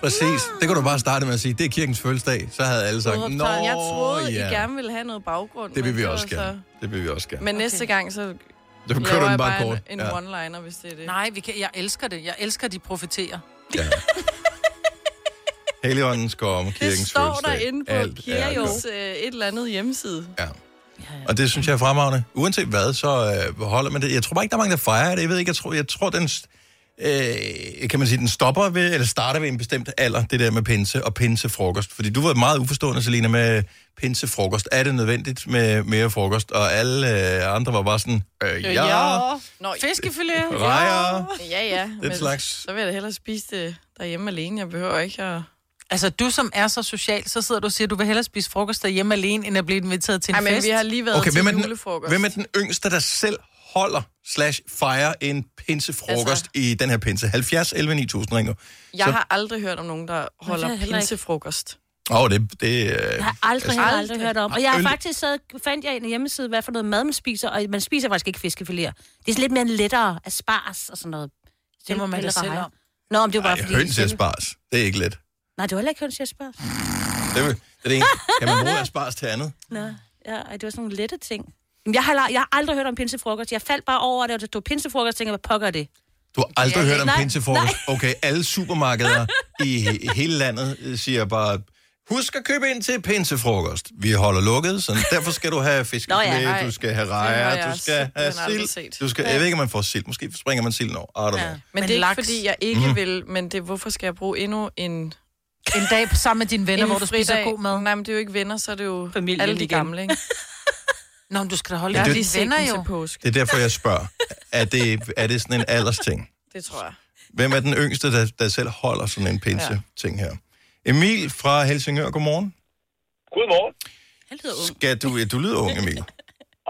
Speaker 1: Præcis. Det kunne du bare starte med at sige. Det er kirkens fødselsdag. Så havde alle sagt, Nå,
Speaker 4: Udråbstegn. jeg troede,
Speaker 1: ja.
Speaker 4: I gerne ville have noget baggrund.
Speaker 1: Det vil
Speaker 4: men
Speaker 1: vi
Speaker 4: så-
Speaker 1: også gerne.
Speaker 4: så-
Speaker 1: Det vil vi også gerne.
Speaker 4: Men næste gang, så
Speaker 1: Det kører du
Speaker 4: laver
Speaker 1: den
Speaker 4: jeg
Speaker 1: bare
Speaker 4: bare
Speaker 1: kort.
Speaker 4: en, en
Speaker 1: Ja.
Speaker 4: one-liner, hvis det er det.
Speaker 3: Nej, vi kan, jeg elsker det. Jeg elsker, at de profiterer.
Speaker 1: Helligåndens komme,
Speaker 4: det
Speaker 1: kirkens
Speaker 4: står
Speaker 1: fødselsdag.
Speaker 4: derinde på
Speaker 1: Alt er
Speaker 4: kirkens øh, et eller andet hjemmeside.
Speaker 1: Ja. Og det synes jeg er fremragende. Uanset hvad, så øh, holder man det. Jeg tror bare ikke, der er mange, der fejrer det. Jeg ved ikke, jeg tror, jeg tror den... st- Øh, kan man sige, den stopper ved, eller starter ved en bestemt alder, det der med pinse og pinsefrokost. Fordi du var meget uforstående, Selina, med pinsefrokost. Er det nødvendigt med mere frokost? Og alle øh, andre var bare sådan, øh, ja, ja.
Speaker 4: Nå,
Speaker 3: Fiskefilet.
Speaker 1: rejer,
Speaker 4: ja, ja. men
Speaker 1: den slags.
Speaker 4: Så vil jeg da hellere spise det derhjemme alene. Jeg behøver ikke at...
Speaker 3: Altså, du som er så social, så sidder du og siger, at du vil hellere spise frokost derhjemme alene, end at blive inviteret til en
Speaker 4: Ej, men
Speaker 3: fest.
Speaker 4: vi har lige været
Speaker 1: Okay,
Speaker 4: til
Speaker 1: hvem er, den,
Speaker 4: julefrokost.
Speaker 1: hvem er den yngste, der selv holder slash fejrer en pinsefrokost altså,
Speaker 4: Altså-
Speaker 1: i den her pinse. 70, 11, 9000 ringer.
Speaker 4: Jeg
Speaker 1: Så-
Speaker 4: har aldrig hørt om nogen, der
Speaker 2: jeg
Speaker 4: holder
Speaker 2: heller ikke.
Speaker 4: pinsefrokost.
Speaker 1: Åh, oh, det... det øh,
Speaker 2: Jeg har aldrig,
Speaker 1: altså-
Speaker 2: aldrig, aldrig hørt om. Og jeg har
Speaker 1: Øl-
Speaker 2: faktisk sad, fandt jeg en hjemmeside, hvad for noget mad man spiser, og man spiser faktisk ikke fiskefiléer. Det er sådan lidt mere lettere aspars og sådan noget.
Speaker 3: Det må man da selv om.
Speaker 2: Nå, men det var bare
Speaker 1: Ej,
Speaker 2: fordi...
Speaker 1: høns i asparges. Det er ikke let.
Speaker 2: Nej, det var heller ikke høns i asparges.
Speaker 1: Det, er- det er det ene. Kan man bruge asparges til andet?
Speaker 3: Mm.
Speaker 2: Nå, ja, ej, det var sådan nogle lette ting. Jamen, Jeg har, la- jeg har aldrig hørt om pinsefrokost. Jeg faldt bare over det, og det stod pinsefrokost, og tænkte, jeg, hvad pokker er det?
Speaker 1: Du har aldrig
Speaker 2: Ja,
Speaker 1: hørt om
Speaker 2: nej,
Speaker 1: pinsefrokost. Okay, alle supermarkeder i, i hele landet øh, siger bare, husk at købe ind til pinsefrokost. Vi holder lukket, så derfor skal du have fisk
Speaker 2: Nå ja, nej.
Speaker 1: du skal have
Speaker 4: har jeg
Speaker 1: rejer, du skal have
Speaker 4: simpelthen aldrig
Speaker 1: sild.
Speaker 4: set.
Speaker 1: Du skal,
Speaker 4: Ja.
Speaker 1: jeg ved ikke, om man får sild. Måske springer man silden over. I don't know.
Speaker 3: Ja.
Speaker 4: Men,
Speaker 3: Men
Speaker 4: det er
Speaker 3: laks.
Speaker 4: ikke, fordi jeg ikke
Speaker 1: Mhm.
Speaker 4: mm. vil, men det er, hvorfor skal jeg bruge endnu en
Speaker 3: En dag sammen med dine venner,
Speaker 4: <laughs> en
Speaker 3: hvor du spiser
Speaker 4: fridag?
Speaker 3: god mad.
Speaker 4: Nej, men det er jo ikke venner, så er det jo
Speaker 2: Familien
Speaker 4: Familien alle de
Speaker 2: igen.
Speaker 4: gamle, ikke?
Speaker 3: <laughs> Nå, men du skal da holde
Speaker 1: Men
Speaker 3: dig
Speaker 1: det-
Speaker 4: De
Speaker 3: ja, dine venner
Speaker 4: jo.
Speaker 3: jo.
Speaker 4: til påske,
Speaker 1: Det er derfor, jeg spørger. Er det, er det sådan en aldersting?
Speaker 4: det tror jeg.
Speaker 1: Hvem er den yngste, der, der selv holder sådan en pinse-ting her? Emil fra Helsingør, godmorgen.
Speaker 11: Godmorgen,
Speaker 2: Han lyder ung.
Speaker 1: Skal du, ja, du lyder ung, Emil.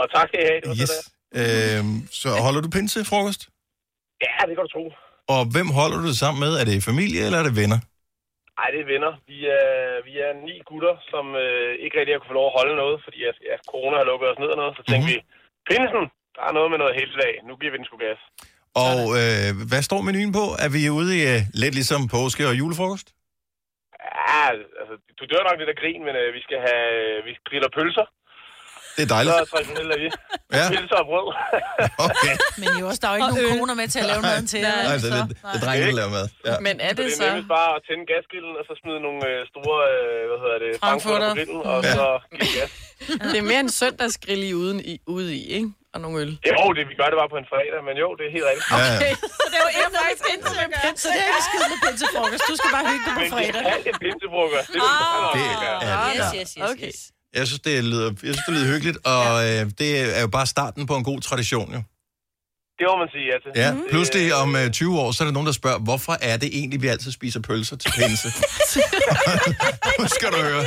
Speaker 11: og tak skal I have. Det var
Speaker 1: Yes.
Speaker 11: så der.
Speaker 1: Øhm, så holder du pinsefrokost?
Speaker 11: Ja, det kan du tro.
Speaker 1: Og hvem holder du det sammen med? Er det familie, eller er det venner?
Speaker 11: Ej, det er venner. Vi er, vi er ni gutter, som øh, ikke rigtig har kunne få lov at holde noget, fordi at, ja, corona har lukket os ned og noget. Så
Speaker 1: Mhm.
Speaker 11: tænkte mm-hmm. vi, pinsen, der er noget med noget helt dag. Nu giver vi den sgu gas.
Speaker 1: Og øh, hvad står menuen på? Er vi ude i øh, lidt ligesom påske og julefrokost?
Speaker 11: Ja, altså, du dør nok lidt af grin, men øh, vi skal have, vi griller pølser.
Speaker 1: Det er
Speaker 11: Så
Speaker 1: dejligt.
Speaker 11: traditionelt er vi.
Speaker 1: Ja,
Speaker 11: Pølser og brød.
Speaker 1: okay.
Speaker 3: Men jo også, der
Speaker 4: <laughs>
Speaker 3: er jo ikke nogen koner med til at lave maden til.
Speaker 4: Nej.
Speaker 3: jer,
Speaker 1: Altså,
Speaker 3: så.
Speaker 1: det, det er drengene, der laver mad. Ja.
Speaker 4: Men er
Speaker 11: Så
Speaker 4: det
Speaker 11: det er
Speaker 4: så...
Speaker 11: nemlig bare at tænde gasgrillen, og så smide nogle øh, store, øh, hvad hedder det, frankfurter
Speaker 4: Frankfurter.
Speaker 11: på grillen, og så give gas.
Speaker 4: Det er mere en søndagsgrill i uden i, ude i, ikke? Og nogle øl.
Speaker 11: Jo, det, vi gør det bare på en fredag, men jo, det er helt rigtigt.
Speaker 4: <laughs>
Speaker 1: Ja, ja.
Speaker 4: det er jo ikke faktisk pinse.
Speaker 3: Så det er ikke skidt med pinsefrokost. Du skal bare hygge dig på
Speaker 11: Men det
Speaker 3: fredag.
Speaker 11: er alt et pinsefrokost. Det er
Speaker 1: Det
Speaker 11: det, det,
Speaker 1: er
Speaker 2: Yes, yes, yes,
Speaker 4: Okay.
Speaker 2: yes.
Speaker 1: Jeg synes, det lyder, jeg synes, det lyder hyggeligt, og øh, det er jo bare starten på en god tradition, jo.
Speaker 11: det må man sige ja til.
Speaker 1: Ja, pludselig om øh, 20 år, så er der nogen, der spørger, hvorfor er det egentlig, vi altid spiser pølser til pinse? nu skal du høre.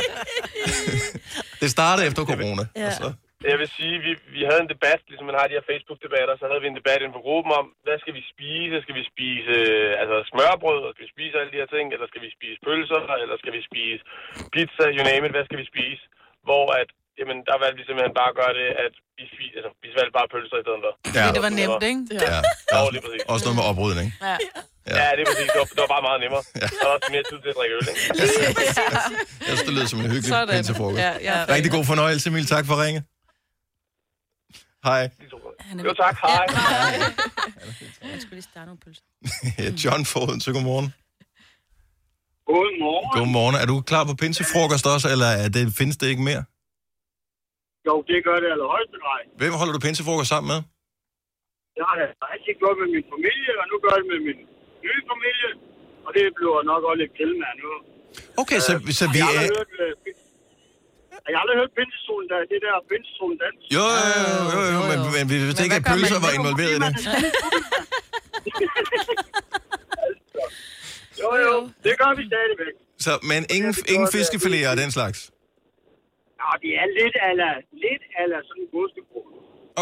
Speaker 1: det startede efter corona. altså. Ja. Og så.
Speaker 11: Jeg vil sige, vi, vi havde en debat, ligesom man har de her Facebook-debatter, så havde vi en debat inde på gruppen om, hvad skal vi spise? Skal vi spise øh, altså smørbrød, og skal vi spise alle de her ting? Eller skal vi spise pølser, eller skal vi spise pizza, you name it, hvad skal vi spise? Hvor at, jamen, der valgte vi simpelthen bare at gøre det, at vi, spiste, altså, vi valgte bare pølser i stedet for.
Speaker 1: Ja,
Speaker 3: Det var nemt, ikke?
Speaker 1: ja.
Speaker 11: Ja, lige præcis.
Speaker 1: Også noget med oprydning. Ja.
Speaker 11: Ja, det er præcis. Det var, det var bare meget nemmere. Der var også mere tid til at drikke øl, ikke?
Speaker 1: Jeg synes, det lyder som en hyggelig
Speaker 4: Sådan.
Speaker 1: pinsefrokost.
Speaker 4: Ja, ja.
Speaker 1: Rigtig god fornøjelse, Emil. Tak for ringe. Hej.
Speaker 11: Jo,
Speaker 2: <laughs>
Speaker 11: tak. Hej.
Speaker 2: Jeg skulle lige starte nogle pølser.
Speaker 1: John Foden, så godmorgen.
Speaker 11: Godmorgen.
Speaker 1: Godmorgen. Er du klar på pinsefrokost også, eller er det, findes det ikke mere?
Speaker 11: Jo, det gør det allerhøjeste grej.
Speaker 1: Hvem holder du pinsefrokost sammen med?
Speaker 11: Jeg har da altid gået med min familie, og nu gør jeg det med min nye familie. Og det bliver nok også lidt kæld med nu.
Speaker 1: Okay, så, så vi
Speaker 11: Jeg har
Speaker 1: er...
Speaker 11: aldrig hørt, øh, pin- jeg har aldrig hørt pindestolen, der, det der pindestolen dans.
Speaker 1: Jo, jo,
Speaker 11: Øh,
Speaker 1: jo, jo, jo, jo, men, men vi vidste ikke, at
Speaker 4: hvad gør
Speaker 1: pølser
Speaker 4: man?
Speaker 1: var involveret i det.
Speaker 11: <laughs> Jo, jo, det gør vi stadigvæk.
Speaker 1: Så, men ingen, ingen fiskefiléer og den slags?
Speaker 11: Ja, det er lidt ala, lidt ala sådan en godstebro.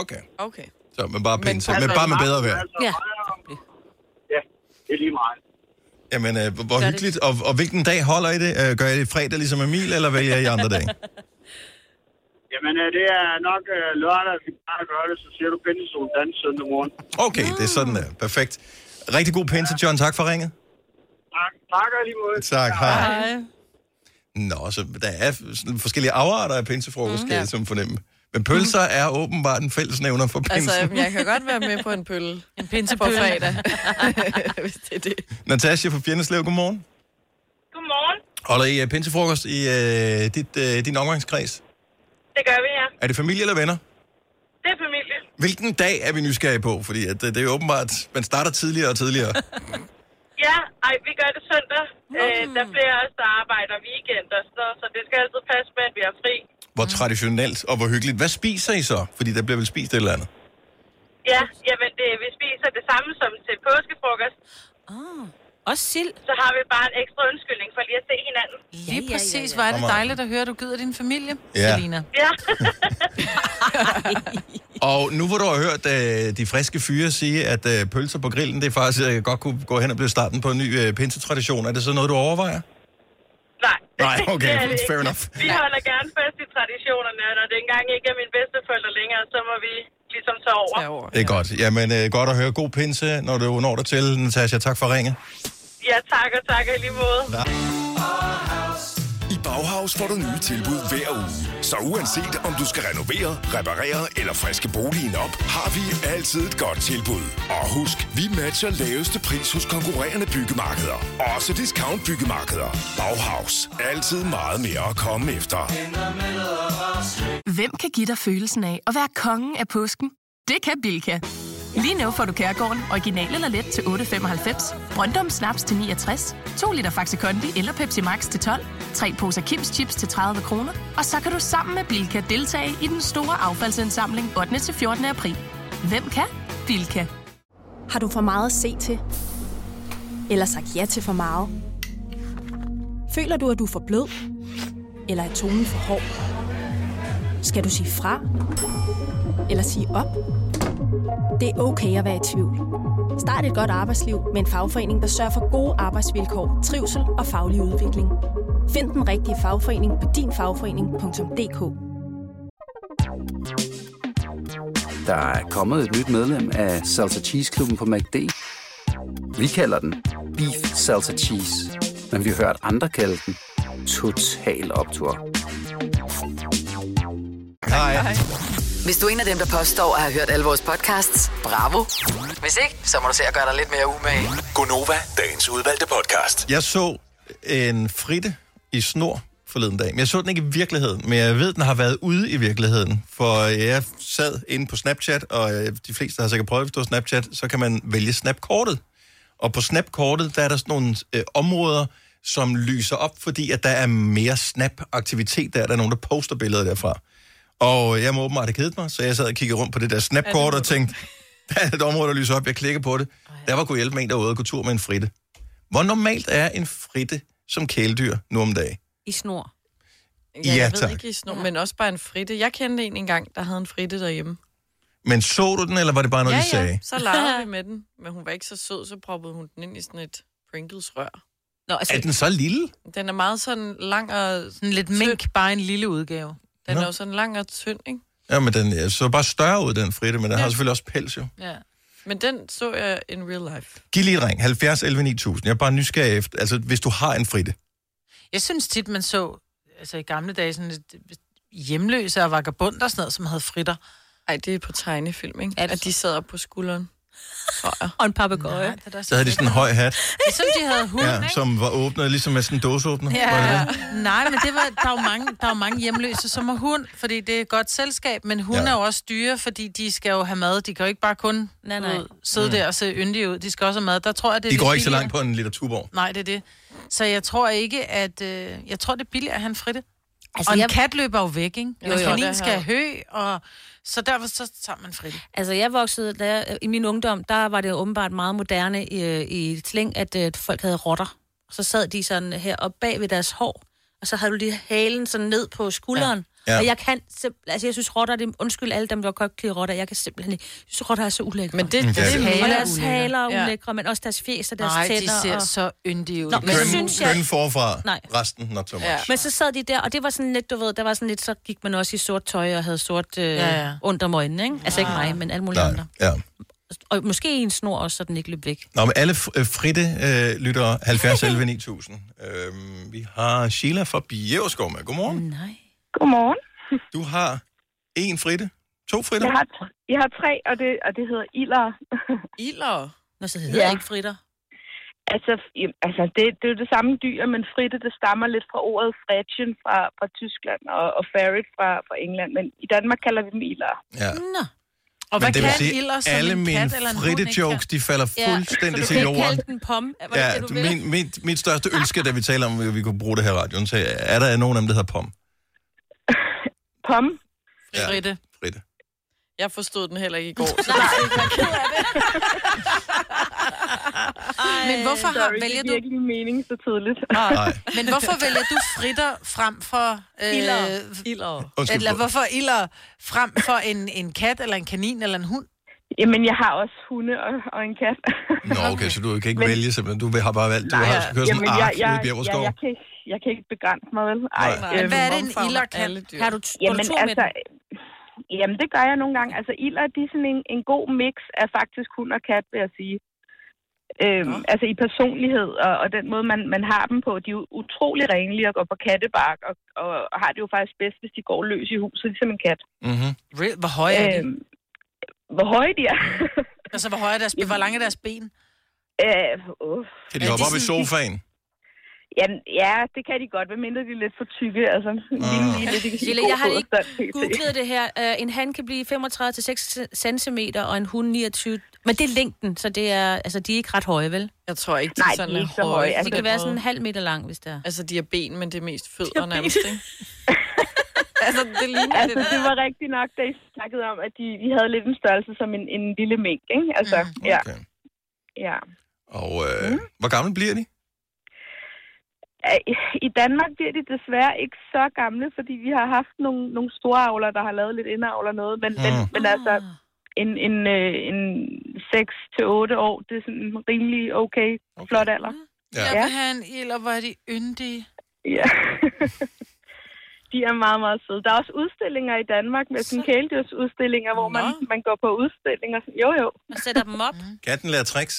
Speaker 1: Okay.
Speaker 4: Okay.
Speaker 1: Så, men bare pinse. Men
Speaker 4: altså,
Speaker 1: bare med bedre vejr.
Speaker 2: Ja.
Speaker 11: Ja, det er lige meget.
Speaker 1: Jamen, øh, hvor- hvor hyggeligt. Og, og hvilken dag holder I det? Øh, Gør I det fredag ligesom Emil, eller vælger I andre dage?
Speaker 11: <laughs> Jamen, øh, det er nok øh, lørdag, vi bare gør det, så siger du pindestolen dans søndag morgen.
Speaker 1: Okay, det er sådan der. Perfekt. Rigtig god pinse, John. Tak for ringet.
Speaker 11: Tak, tak og i lige måde.
Speaker 1: Tak, hej. Nå, så der er sådan forskellige afarter af
Speaker 4: Mm,
Speaker 1: pinsefrokost, kan jeg som fornemme. Men
Speaker 4: <laughs>
Speaker 1: pølser er åbenbart en fællesnævner for pinsen.
Speaker 4: Altså,
Speaker 1: Altså,
Speaker 4: jeg kan godt være med på en pølle. En pinse på
Speaker 3: pølle.
Speaker 4: fredag. <laughs> Hvis det er det.
Speaker 1: <laughs> Natasha fra Fjenneslev, godmorgen.
Speaker 12: Godmorgen.
Speaker 1: Holder I uh, pinsefrokost i uh, dit, uh, din omgangskreds?
Speaker 12: Det gør vi, ja.
Speaker 1: Er det familie eller venner?
Speaker 12: Det er familie.
Speaker 1: Hvilken dag er vi nysgerrige på? Fordi at, øh, det, det er jo åbenbart, man starter tidligere og tidligere.
Speaker 12: Ja, ej, vi gør det søndag. Mm. Øh, der er flere af os, der arbejder weekend og sådan noget, så det skal altid passe med, at vi har fri.
Speaker 4: <laughs>
Speaker 1: Hvor traditionelt og hvor hyggeligt. Hvad spiser I så? Fordi der bliver vel spist et eller andet.
Speaker 12: Ja, jamen, det, vi spiser det samme som til påskefrokost.
Speaker 2: Ah, også sild.
Speaker 12: Så har vi bare en ekstra undskyldning for lige at se hinanden.
Speaker 3: Lige præcis. Hvor er det
Speaker 1: Kom on.
Speaker 3: dejligt at høre, at du gider din familie,
Speaker 1: Ja.
Speaker 3: Selina.
Speaker 12: Ja,
Speaker 1: Og nu hvor du har hørt øh, de friske fyre sige, at øh, pølser på grillen, det er faktisk øh, godt kunne gå hen og blive starten på en ny øh, pinsetradition, er det så noget, du overvejer?
Speaker 12: Nej. <laughs>
Speaker 1: Nej, okay,
Speaker 12: Det er det ikke.
Speaker 1: fair enough.
Speaker 12: Vi holder gerne fast i traditionerne, og når det engang ikke er mine bedsteforældre længere, så må vi ligesom tage over. Tage over.
Speaker 1: Det er godt. Jamen, øh, godt at høre. God pinse, når du når dig til, Natasha. Tak for ringet.
Speaker 12: Ja, tak og tak og i lige måde.
Speaker 1: Ja.
Speaker 8: I Bauhaus får du nye tilbud hver uge. Så uanset om du skal renovere, reparere eller friske boligen op, har vi altid et godt tilbud. Og husk, vi matcher laveste pris hos konkurrerende byggemarkeder. Også discount byggemarkeder. Bauhaus. Altid meget mere at komme efter.
Speaker 13: Hvem kan give dig følelsen af at være kongen af påsken? Det kan Bilka! Lige nu får du Kærgården original eller let til 8.95, Brøndum Snaps til 69, 2 liter Faxi Kondi eller Pepsi Max til 12, 3 poser Kims Chips til 30 kroner, og så kan du sammen med Bilka deltage i den store affaldsindsamling 8. til 14. april. Hvem kan? Bilka.
Speaker 14: Har du for meget at se til? Eller sagt ja til for meget? Føler du, at du er for blød? Eller er tonen for hård? Skal du sige fra? Eller sige op? Det er okay at være i tvivl. Start et godt arbejdsliv med en fagforening, der sørger for gode arbejdsvilkår, trivsel og faglig udvikling. Find den rigtige fagforening på dinfagforening.dk
Speaker 15: Der er kommet et nyt medlem af Salsa Cheese Klubben på MACD. Vi kalder den Beef Salsa Cheese, men vi har hørt andre kalde den Total Optor.
Speaker 1: Hej.
Speaker 5: Hvis du er en af dem, der påstår at have hørt alle vores podcasts, bravo. Hvis ikke, så må du se at gøre dig lidt mere umage.
Speaker 8: Gonova, dagens udvalgte podcast.
Speaker 1: Jeg så øh, en fritte i snor forleden dag. Men jeg så den ikke i virkeligheden, men jeg ved, den har været ude i virkeligheden. For øh, jeg sad inde på Snapchat, og øh, de fleste har sikkert prøvet at forstå Snapchat, så kan man vælge Snapkortet. Og på Snapkortet, der er der sådan nogle øh, områder, som lyser op, fordi at der er mere Snap-aktivitet der. Der er nogen, der poster billeder derfra. Og øh, jeg må åbenbart have kedet mig, så jeg sad og kiggede rundt på det der Snapkort og tænkte, <laughs> der er et område, der lyser op, jeg klikker på det. Der var kunne hjælpe med en derude og gå tur med en fritte. Hvor normalt er en fritte som kæledyr nu om dagen?
Speaker 2: I snor.
Speaker 1: Ja,
Speaker 4: jeg ved
Speaker 1: tak.
Speaker 4: ikke i snor, men også bare en fritte. Jeg kendte en engang, der havde en fritte derhjemme.
Speaker 1: Men så du den, eller var det bare noget,
Speaker 4: ja,
Speaker 1: I sagde?
Speaker 4: ja, så legede vi med den. Men hun var ikke så sød, så proppede hun den ind i sådan et Pringles-rør.
Speaker 2: Nå,
Speaker 4: altså-
Speaker 1: Er den så lille?
Speaker 4: Den er meget sådan lang og... Sådan
Speaker 3: lidt mink, bare en lille udgave.
Speaker 4: Den
Speaker 1: Nå.
Speaker 4: er jo sådan lang og tynd, ikke?
Speaker 1: Ja, men den jeg så bare større ud, den fritte, men den ja. har selvfølgelig også pels jo.
Speaker 4: Ja. Men den så jeg in real life.
Speaker 1: Giv lige et ring, 70 11 9000. Jeg er bare nysgerrig efter, altså hvis du har en fritte.
Speaker 3: Jeg synes tit, man så altså i gamle dage sådan lidt hjemløse og vagabond og sådan noget, som havde fritter.
Speaker 4: Ej, det er på tegnefilm, ikke? At de sad op på skulderen.
Speaker 3: <laughs>
Speaker 2: Og en papegøje.
Speaker 1: Så havde de sådan en høj hat,
Speaker 3: Ligesom de havde Altså- hund, ja,
Speaker 1: ja,
Speaker 3: ikke?
Speaker 1: som var åbnet, ligesom med sådan en dåseåbner. Var det
Speaker 3: Ja,
Speaker 1: det?
Speaker 3: nej, men det var, der, er jo mange, der er jo mange hjemløse, som har hund, fordi det er et godt selskab, men hunde
Speaker 1: Ja.
Speaker 3: ja. er jo også dyre, fordi de skal jo have mad. De kan jo ikke bare kun nej, nej. Ud, sidde
Speaker 1: Mm.
Speaker 3: mm. der og se yndige ud. De skal også have mad. Der tror jeg, det er
Speaker 1: De
Speaker 3: lidt
Speaker 1: går ikke så
Speaker 3: billigere.
Speaker 1: langt på en liter tuborg.
Speaker 3: Nej, det er det. Så jeg tror ikke, at... Øh, jeg tror, det er billigere at have en fritte.
Speaker 2: Altså,
Speaker 3: Altså, og en
Speaker 2: jeg-
Speaker 3: jeg... kat løber jo væk, ikke?
Speaker 2: Jo, jo,
Speaker 3: Jo, jo,
Speaker 2: det har
Speaker 3: kanin skal
Speaker 2: jeg.
Speaker 3: have hø, og... Så derfor så tager man en fritte.
Speaker 2: Altså, jeg voksede, da jeg, i min ungdom, der var det åbenbart meget moderne i, i slæng, at øh, folk havde rotter. Så sad de sådan her op bag ved deres hår, og så havde du lige halen sådan ned på skulderen.
Speaker 7: Ja.
Speaker 2: Ja.
Speaker 7: Ja.
Speaker 2: Ja. Og jeg kan simp- altså jeg synes rotter, det er, undskyld alle dem, der godt kan lide rotter, jeg kan simpelthen ikke, jeg synes rotter er så ulækre. Men
Speaker 4: det- det er
Speaker 2: er
Speaker 4: mega
Speaker 2: Og deres
Speaker 4: ulækkert.
Speaker 2: haler er
Speaker 4: Ja.
Speaker 2: ulækre, men også deres fjes og deres
Speaker 3: Nej, de
Speaker 2: tænder.
Speaker 3: ser
Speaker 2: og...
Speaker 3: så yndige ud.
Speaker 2: Nå,
Speaker 1: Køn,
Speaker 2: men synes jeg...
Speaker 1: køn forfra,
Speaker 2: Nej.
Speaker 1: resten not so much.
Speaker 2: Ja. Men så sad de der, og det var sådan lidt, du ved, der var sådan lidt, så gik man også i sort tøj og havde sort øh,
Speaker 1: Ja, ja.
Speaker 2: ja, under om øjnene, ikke? Altså ikke mig, men alle mulige
Speaker 1: Nej,
Speaker 2: andre.
Speaker 1: ja.
Speaker 2: Og måske i en snor også, så den ikke løb væk.
Speaker 1: Nå, men alle fr- øh, fritte øh, lytter
Speaker 3: <laughs>
Speaker 1: 70 11 9000. Øhm, vi har Sheila fra Bjergskov med. Godmorgen.
Speaker 2: Nej.
Speaker 16: Godmorgen.
Speaker 1: Du har en fritte, to fritter.
Speaker 16: Jeg har, jeg har tre, og det, og det hedder ilder. <laughs>
Speaker 4: ilder?
Speaker 2: Nå, så hedder det ikke fritter.
Speaker 16: Altså, i- altså det, det er jo det samme dyr, men fritte, det stammer lidt fra ordet fretchen fra, fra Tyskland og, og ferret fra, fra England. Men i Danmark kalder vi dem ilder.
Speaker 1: Ja.
Speaker 2: Nå.
Speaker 3: Og
Speaker 1: Men
Speaker 3: hvad
Speaker 1: det vil
Speaker 3: kan
Speaker 1: sige,
Speaker 3: ilder, som
Speaker 1: alle
Speaker 3: en
Speaker 1: mine
Speaker 3: kat eller en hund
Speaker 1: fritte
Speaker 3: ikke
Speaker 1: jokes, de falder fuldstændig til jorden.
Speaker 2: den pom. Var
Speaker 1: Ja, min, min, mit største ønske, da vi taler om, at vi kunne bruge det her i radioen, så er der nogen af dem, der hedder Pom.
Speaker 16: Pom.
Speaker 1: Ja.
Speaker 3: Fritte.
Speaker 1: Fritte.
Speaker 4: Jeg forstod den heller ikke i går, så der er ikke noget ked af <laughs> det.
Speaker 3: Men hvorfor har-
Speaker 16: sorry,
Speaker 3: vælger
Speaker 16: det
Speaker 3: du-
Speaker 16: giver ikke mening så tidligt.
Speaker 3: Nej. Men hvorfor vælger du fritter frem for... Øh,
Speaker 16: Ildere.
Speaker 3: Ilder.
Speaker 16: Undskyld,
Speaker 3: Eller
Speaker 16: på-
Speaker 3: hvorfor ilder frem for en, en kat, eller en kanin, eller en hund?
Speaker 16: Jamen, jeg har også hunde <laughs> og, og en kat.
Speaker 1: Nå, okay, så du kan ikke
Speaker 16: Men-
Speaker 1: vælge simpelthen. Du vil- har bare valgt, du
Speaker 16: Nej,
Speaker 1: har kørt sådan en
Speaker 16: jeg,
Speaker 1: ark
Speaker 16: jeg,
Speaker 1: ude i
Speaker 16: jeg,
Speaker 1: Bjergårdskov.
Speaker 16: jeg, kan ikke, jeg kan ikke begrænse mig, vel? Ej, øhm,
Speaker 1: Nej. Men hvad er det, en
Speaker 16: omfavner
Speaker 1: ilder kan?
Speaker 16: alle dyr.
Speaker 1: Har du- går du
Speaker 16: jamen,
Speaker 1: tur med
Speaker 16: altså, jamen, det gør jeg nogle gange. Altså, ilder, de er sådan en, en god mix af faktisk hund og kat, vil jeg sige. Øhm, altså i personlighed og, og den måde, man, man har dem på. De er jo utrolig renlige og går på kattebark, og, og, og har det jo faktisk bedst, hvis de går løs i huset, ligesom en kat.
Speaker 1: Mm-hmm.
Speaker 3: Real, hvor høje er de?
Speaker 16: Øhm, Hvor høje de er?
Speaker 3: <laughs> altså, hvor, høje er deres, hvor lange er deres ben?
Speaker 16: Øh, uh.
Speaker 1: Kan de hoppe op i sofaen?
Speaker 16: Jamen, ja, det kan de godt, medmindre de er lidt for tykke. Altså,
Speaker 1: Ah.
Speaker 16: lige, lige, lidt, de kan sige
Speaker 2: Lille,
Speaker 16: god
Speaker 2: jeg har
Speaker 16: fod og
Speaker 2: ikke
Speaker 16: sådan, pt.
Speaker 2: googlet det her. Øh, En han kan blive 35-6 cm, og en hund 29. Men det er længden, så det er, altså, de er ikke ret høje, vel?
Speaker 4: Jeg tror ikke, de
Speaker 2: Nej,
Speaker 4: er sådan
Speaker 2: de er
Speaker 4: lidt
Speaker 2: ikke så høje.
Speaker 4: høje.
Speaker 2: Altså, det kan være sådan en halv meter lang, hvis det er.
Speaker 4: Altså, de har ben, men det er mest
Speaker 2: De har
Speaker 4: fødder
Speaker 2: ben.
Speaker 4: nærmest,
Speaker 3: <laughs>
Speaker 4: ikke? altså, det ligner
Speaker 16: altså,
Speaker 4: det der.
Speaker 16: det var rigtigt nok, da I snakkede om, at de, de havde lidt en størrelse som en, en lille mink, ikke? Altså, mm, ja. Mm. ja.
Speaker 1: Og øh, hvor gammel bliver de?
Speaker 16: Øh, i- I Danmark bliver de desværre ikke så gamle, fordi vi har haft nogle, nogle store avler, der har lavet lidt indavl og noget, men, mm. men, men altså en, en, øh, en 6-8 år, det er sådan en rimelig okay, flot alder.
Speaker 3: Ja. Jeg vil have en ild, og hvor er de yndige.
Speaker 16: Ja. <laughs> De er meget, meget søde. Der er også udstillinger i Danmark med sådan kæledyrsudstillinger, hvor man, man går på udstillinger. Jo, jo.
Speaker 2: Og sætter dem
Speaker 16: <laughs>
Speaker 2: op.
Speaker 1: Katten lærer tricks.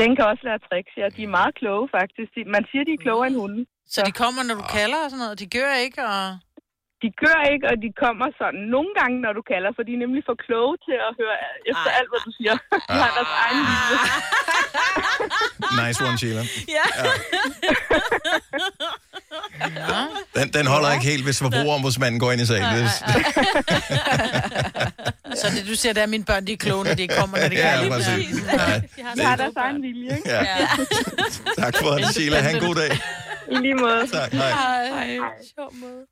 Speaker 16: Den kan også lære tricks, ja. De er meget kloge, faktisk. De, man siger, de er klogere end hunde.
Speaker 3: Så de kommer, når du kalder og sådan noget, og de gør ikke, og...
Speaker 16: De gør ikke, og de kommer sådan nogle gange, når du kalder, for de er nemlig for kloge til at høre efter alt, hvad du
Speaker 3: <laughs>
Speaker 16: siger. <laughs> De har deres egen lille.
Speaker 1: Nice one, Sheila.
Speaker 2: Ja.
Speaker 1: Den, den holder ikke helt, hvis forbrugerombudsmanden går ind i sagen. Det er-
Speaker 3: <laughs> Så det, du siger, det er, at mine børn, de er kloge, når de kommer, når de
Speaker 1: Ja,
Speaker 3: kalder.
Speaker 1: præcis. Ja.
Speaker 16: De har, de har deres egen vilje, ikke?
Speaker 1: Ja. Tak for det, Sheila. Ha' en god dag.
Speaker 16: I lige måde.
Speaker 1: Tak, hej.
Speaker 4: Ej, sjov måde.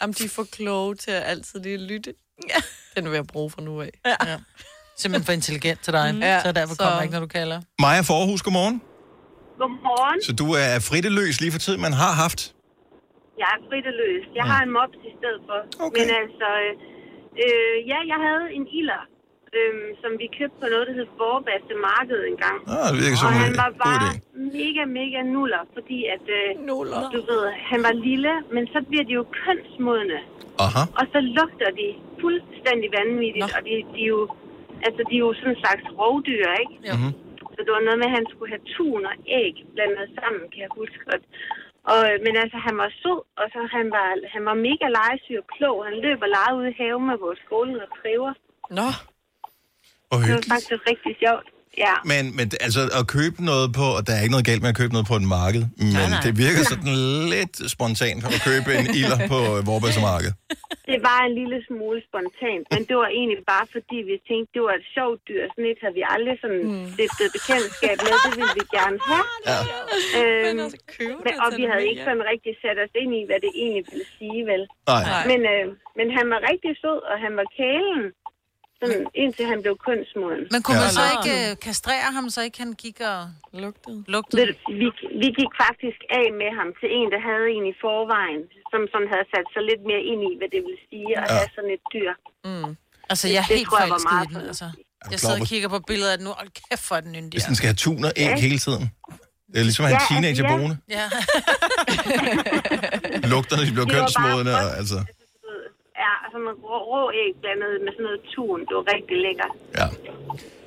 Speaker 4: Jamen, de er for kloge til at altid lige lytte. Den vil jeg bruge fra nu af. Ja. ja.
Speaker 3: Simpelthen for intelligent til dig,
Speaker 4: Mm.
Speaker 3: ja, så derfor
Speaker 4: Så-
Speaker 3: kommer jeg ikke, når du kalder.
Speaker 1: Maja Forhus, godmorgen.
Speaker 17: Godmorgen.
Speaker 1: Så du er fritteløs lige for tiden, man har haft.
Speaker 17: Jeg er fritteløs. Jeg har en mops i stedet for. Okay. Men altså, øh, øh, ja, jeg havde en iler, øh, som vi købte på noget, der hed Forbaste Marked engang.
Speaker 1: Ah, det virker som
Speaker 17: og
Speaker 1: en
Speaker 17: han var
Speaker 1: god
Speaker 17: bare
Speaker 1: idé.
Speaker 17: mega, mega nuller, fordi at, øh, nuller. du ved, han var lille, men så bliver de jo kønsmodne.
Speaker 1: Aha.
Speaker 17: Og så lugter de fuldstændig vanvittigt, Nå. og de, de, er jo, altså, de er jo sådan en slags rovdyr, ikke?
Speaker 1: <laughs> Ja. Mm-hmm.
Speaker 17: Så det var noget med, at han skulle have tun og æg blandet sammen, kan jeg huske. Og, og, øh, men altså, han var sød, og så han var, han var mega legesyg og klog. Han løb og legede ude i haven med vores golden retriever.
Speaker 4: Nå.
Speaker 1: Og
Speaker 17: Det var faktisk rigtig sjovt. Ja.
Speaker 1: Men, men altså, at købe noget på, og der er ikke noget galt med at købe noget på et marked, men nej, nej.
Speaker 17: nej.
Speaker 1: det virker sådan lidt spontant at købe en ilder på øh, Vorbasse-marked.
Speaker 17: Det var en lille smule spontant, men det var egentlig bare fordi, vi tænkte, det var et sjovt dyr. Sådan et havde vi aldrig sådan
Speaker 3: Hmm.
Speaker 17: mm. stiftet bekendtskab med. Det ville vi gerne have.
Speaker 1: Ja.
Speaker 17: Øhm,
Speaker 3: altså,
Speaker 17: men,
Speaker 4: det
Speaker 17: og
Speaker 4: til
Speaker 17: vi
Speaker 4: dem,
Speaker 17: havde
Speaker 4: ikke?
Speaker 17: ikke sådan rigtig sat os ind i, hvad det egentlig ville sige, vel?
Speaker 1: Nej.
Speaker 17: Men, øh, men han var rigtig sød, og han var kælen, sådan, indtil han blev kønsmoden.
Speaker 3: Men kunne ja. man så ikke øh, kastrere ham, så ikke han gik og lugtede? lugtede.
Speaker 17: Ved du, Vi, vi gik faktisk af med ham til en, der havde en i forvejen, som sådan havde sat sig lidt mere ind i, hvad det ville sige at
Speaker 3: Ja.
Speaker 17: have sådan et dyr.
Speaker 3: Mm. Altså,
Speaker 17: Det-
Speaker 3: jeg er
Speaker 17: det
Speaker 3: helt
Speaker 17: tror jeg var
Speaker 3: forelsket
Speaker 17: meget
Speaker 3: i den, altså. Jeg
Speaker 1: klar
Speaker 3: sidder og
Speaker 1: over-
Speaker 3: kigger på billeder af den nu. Hold kæft, for den yndig.
Speaker 1: Hvis den skal have tun og æg
Speaker 3: Ja.
Speaker 1: hele tiden. Det er ligesom at have en teenager boende.
Speaker 3: Ja.
Speaker 1: Lugter, når de bliver
Speaker 17: Det var bare
Speaker 1: kønsmodende, og, altså.
Speaker 17: Ja, sådan en rå, rå æg blandet med sådan noget tun. Det var rigtig lækkert.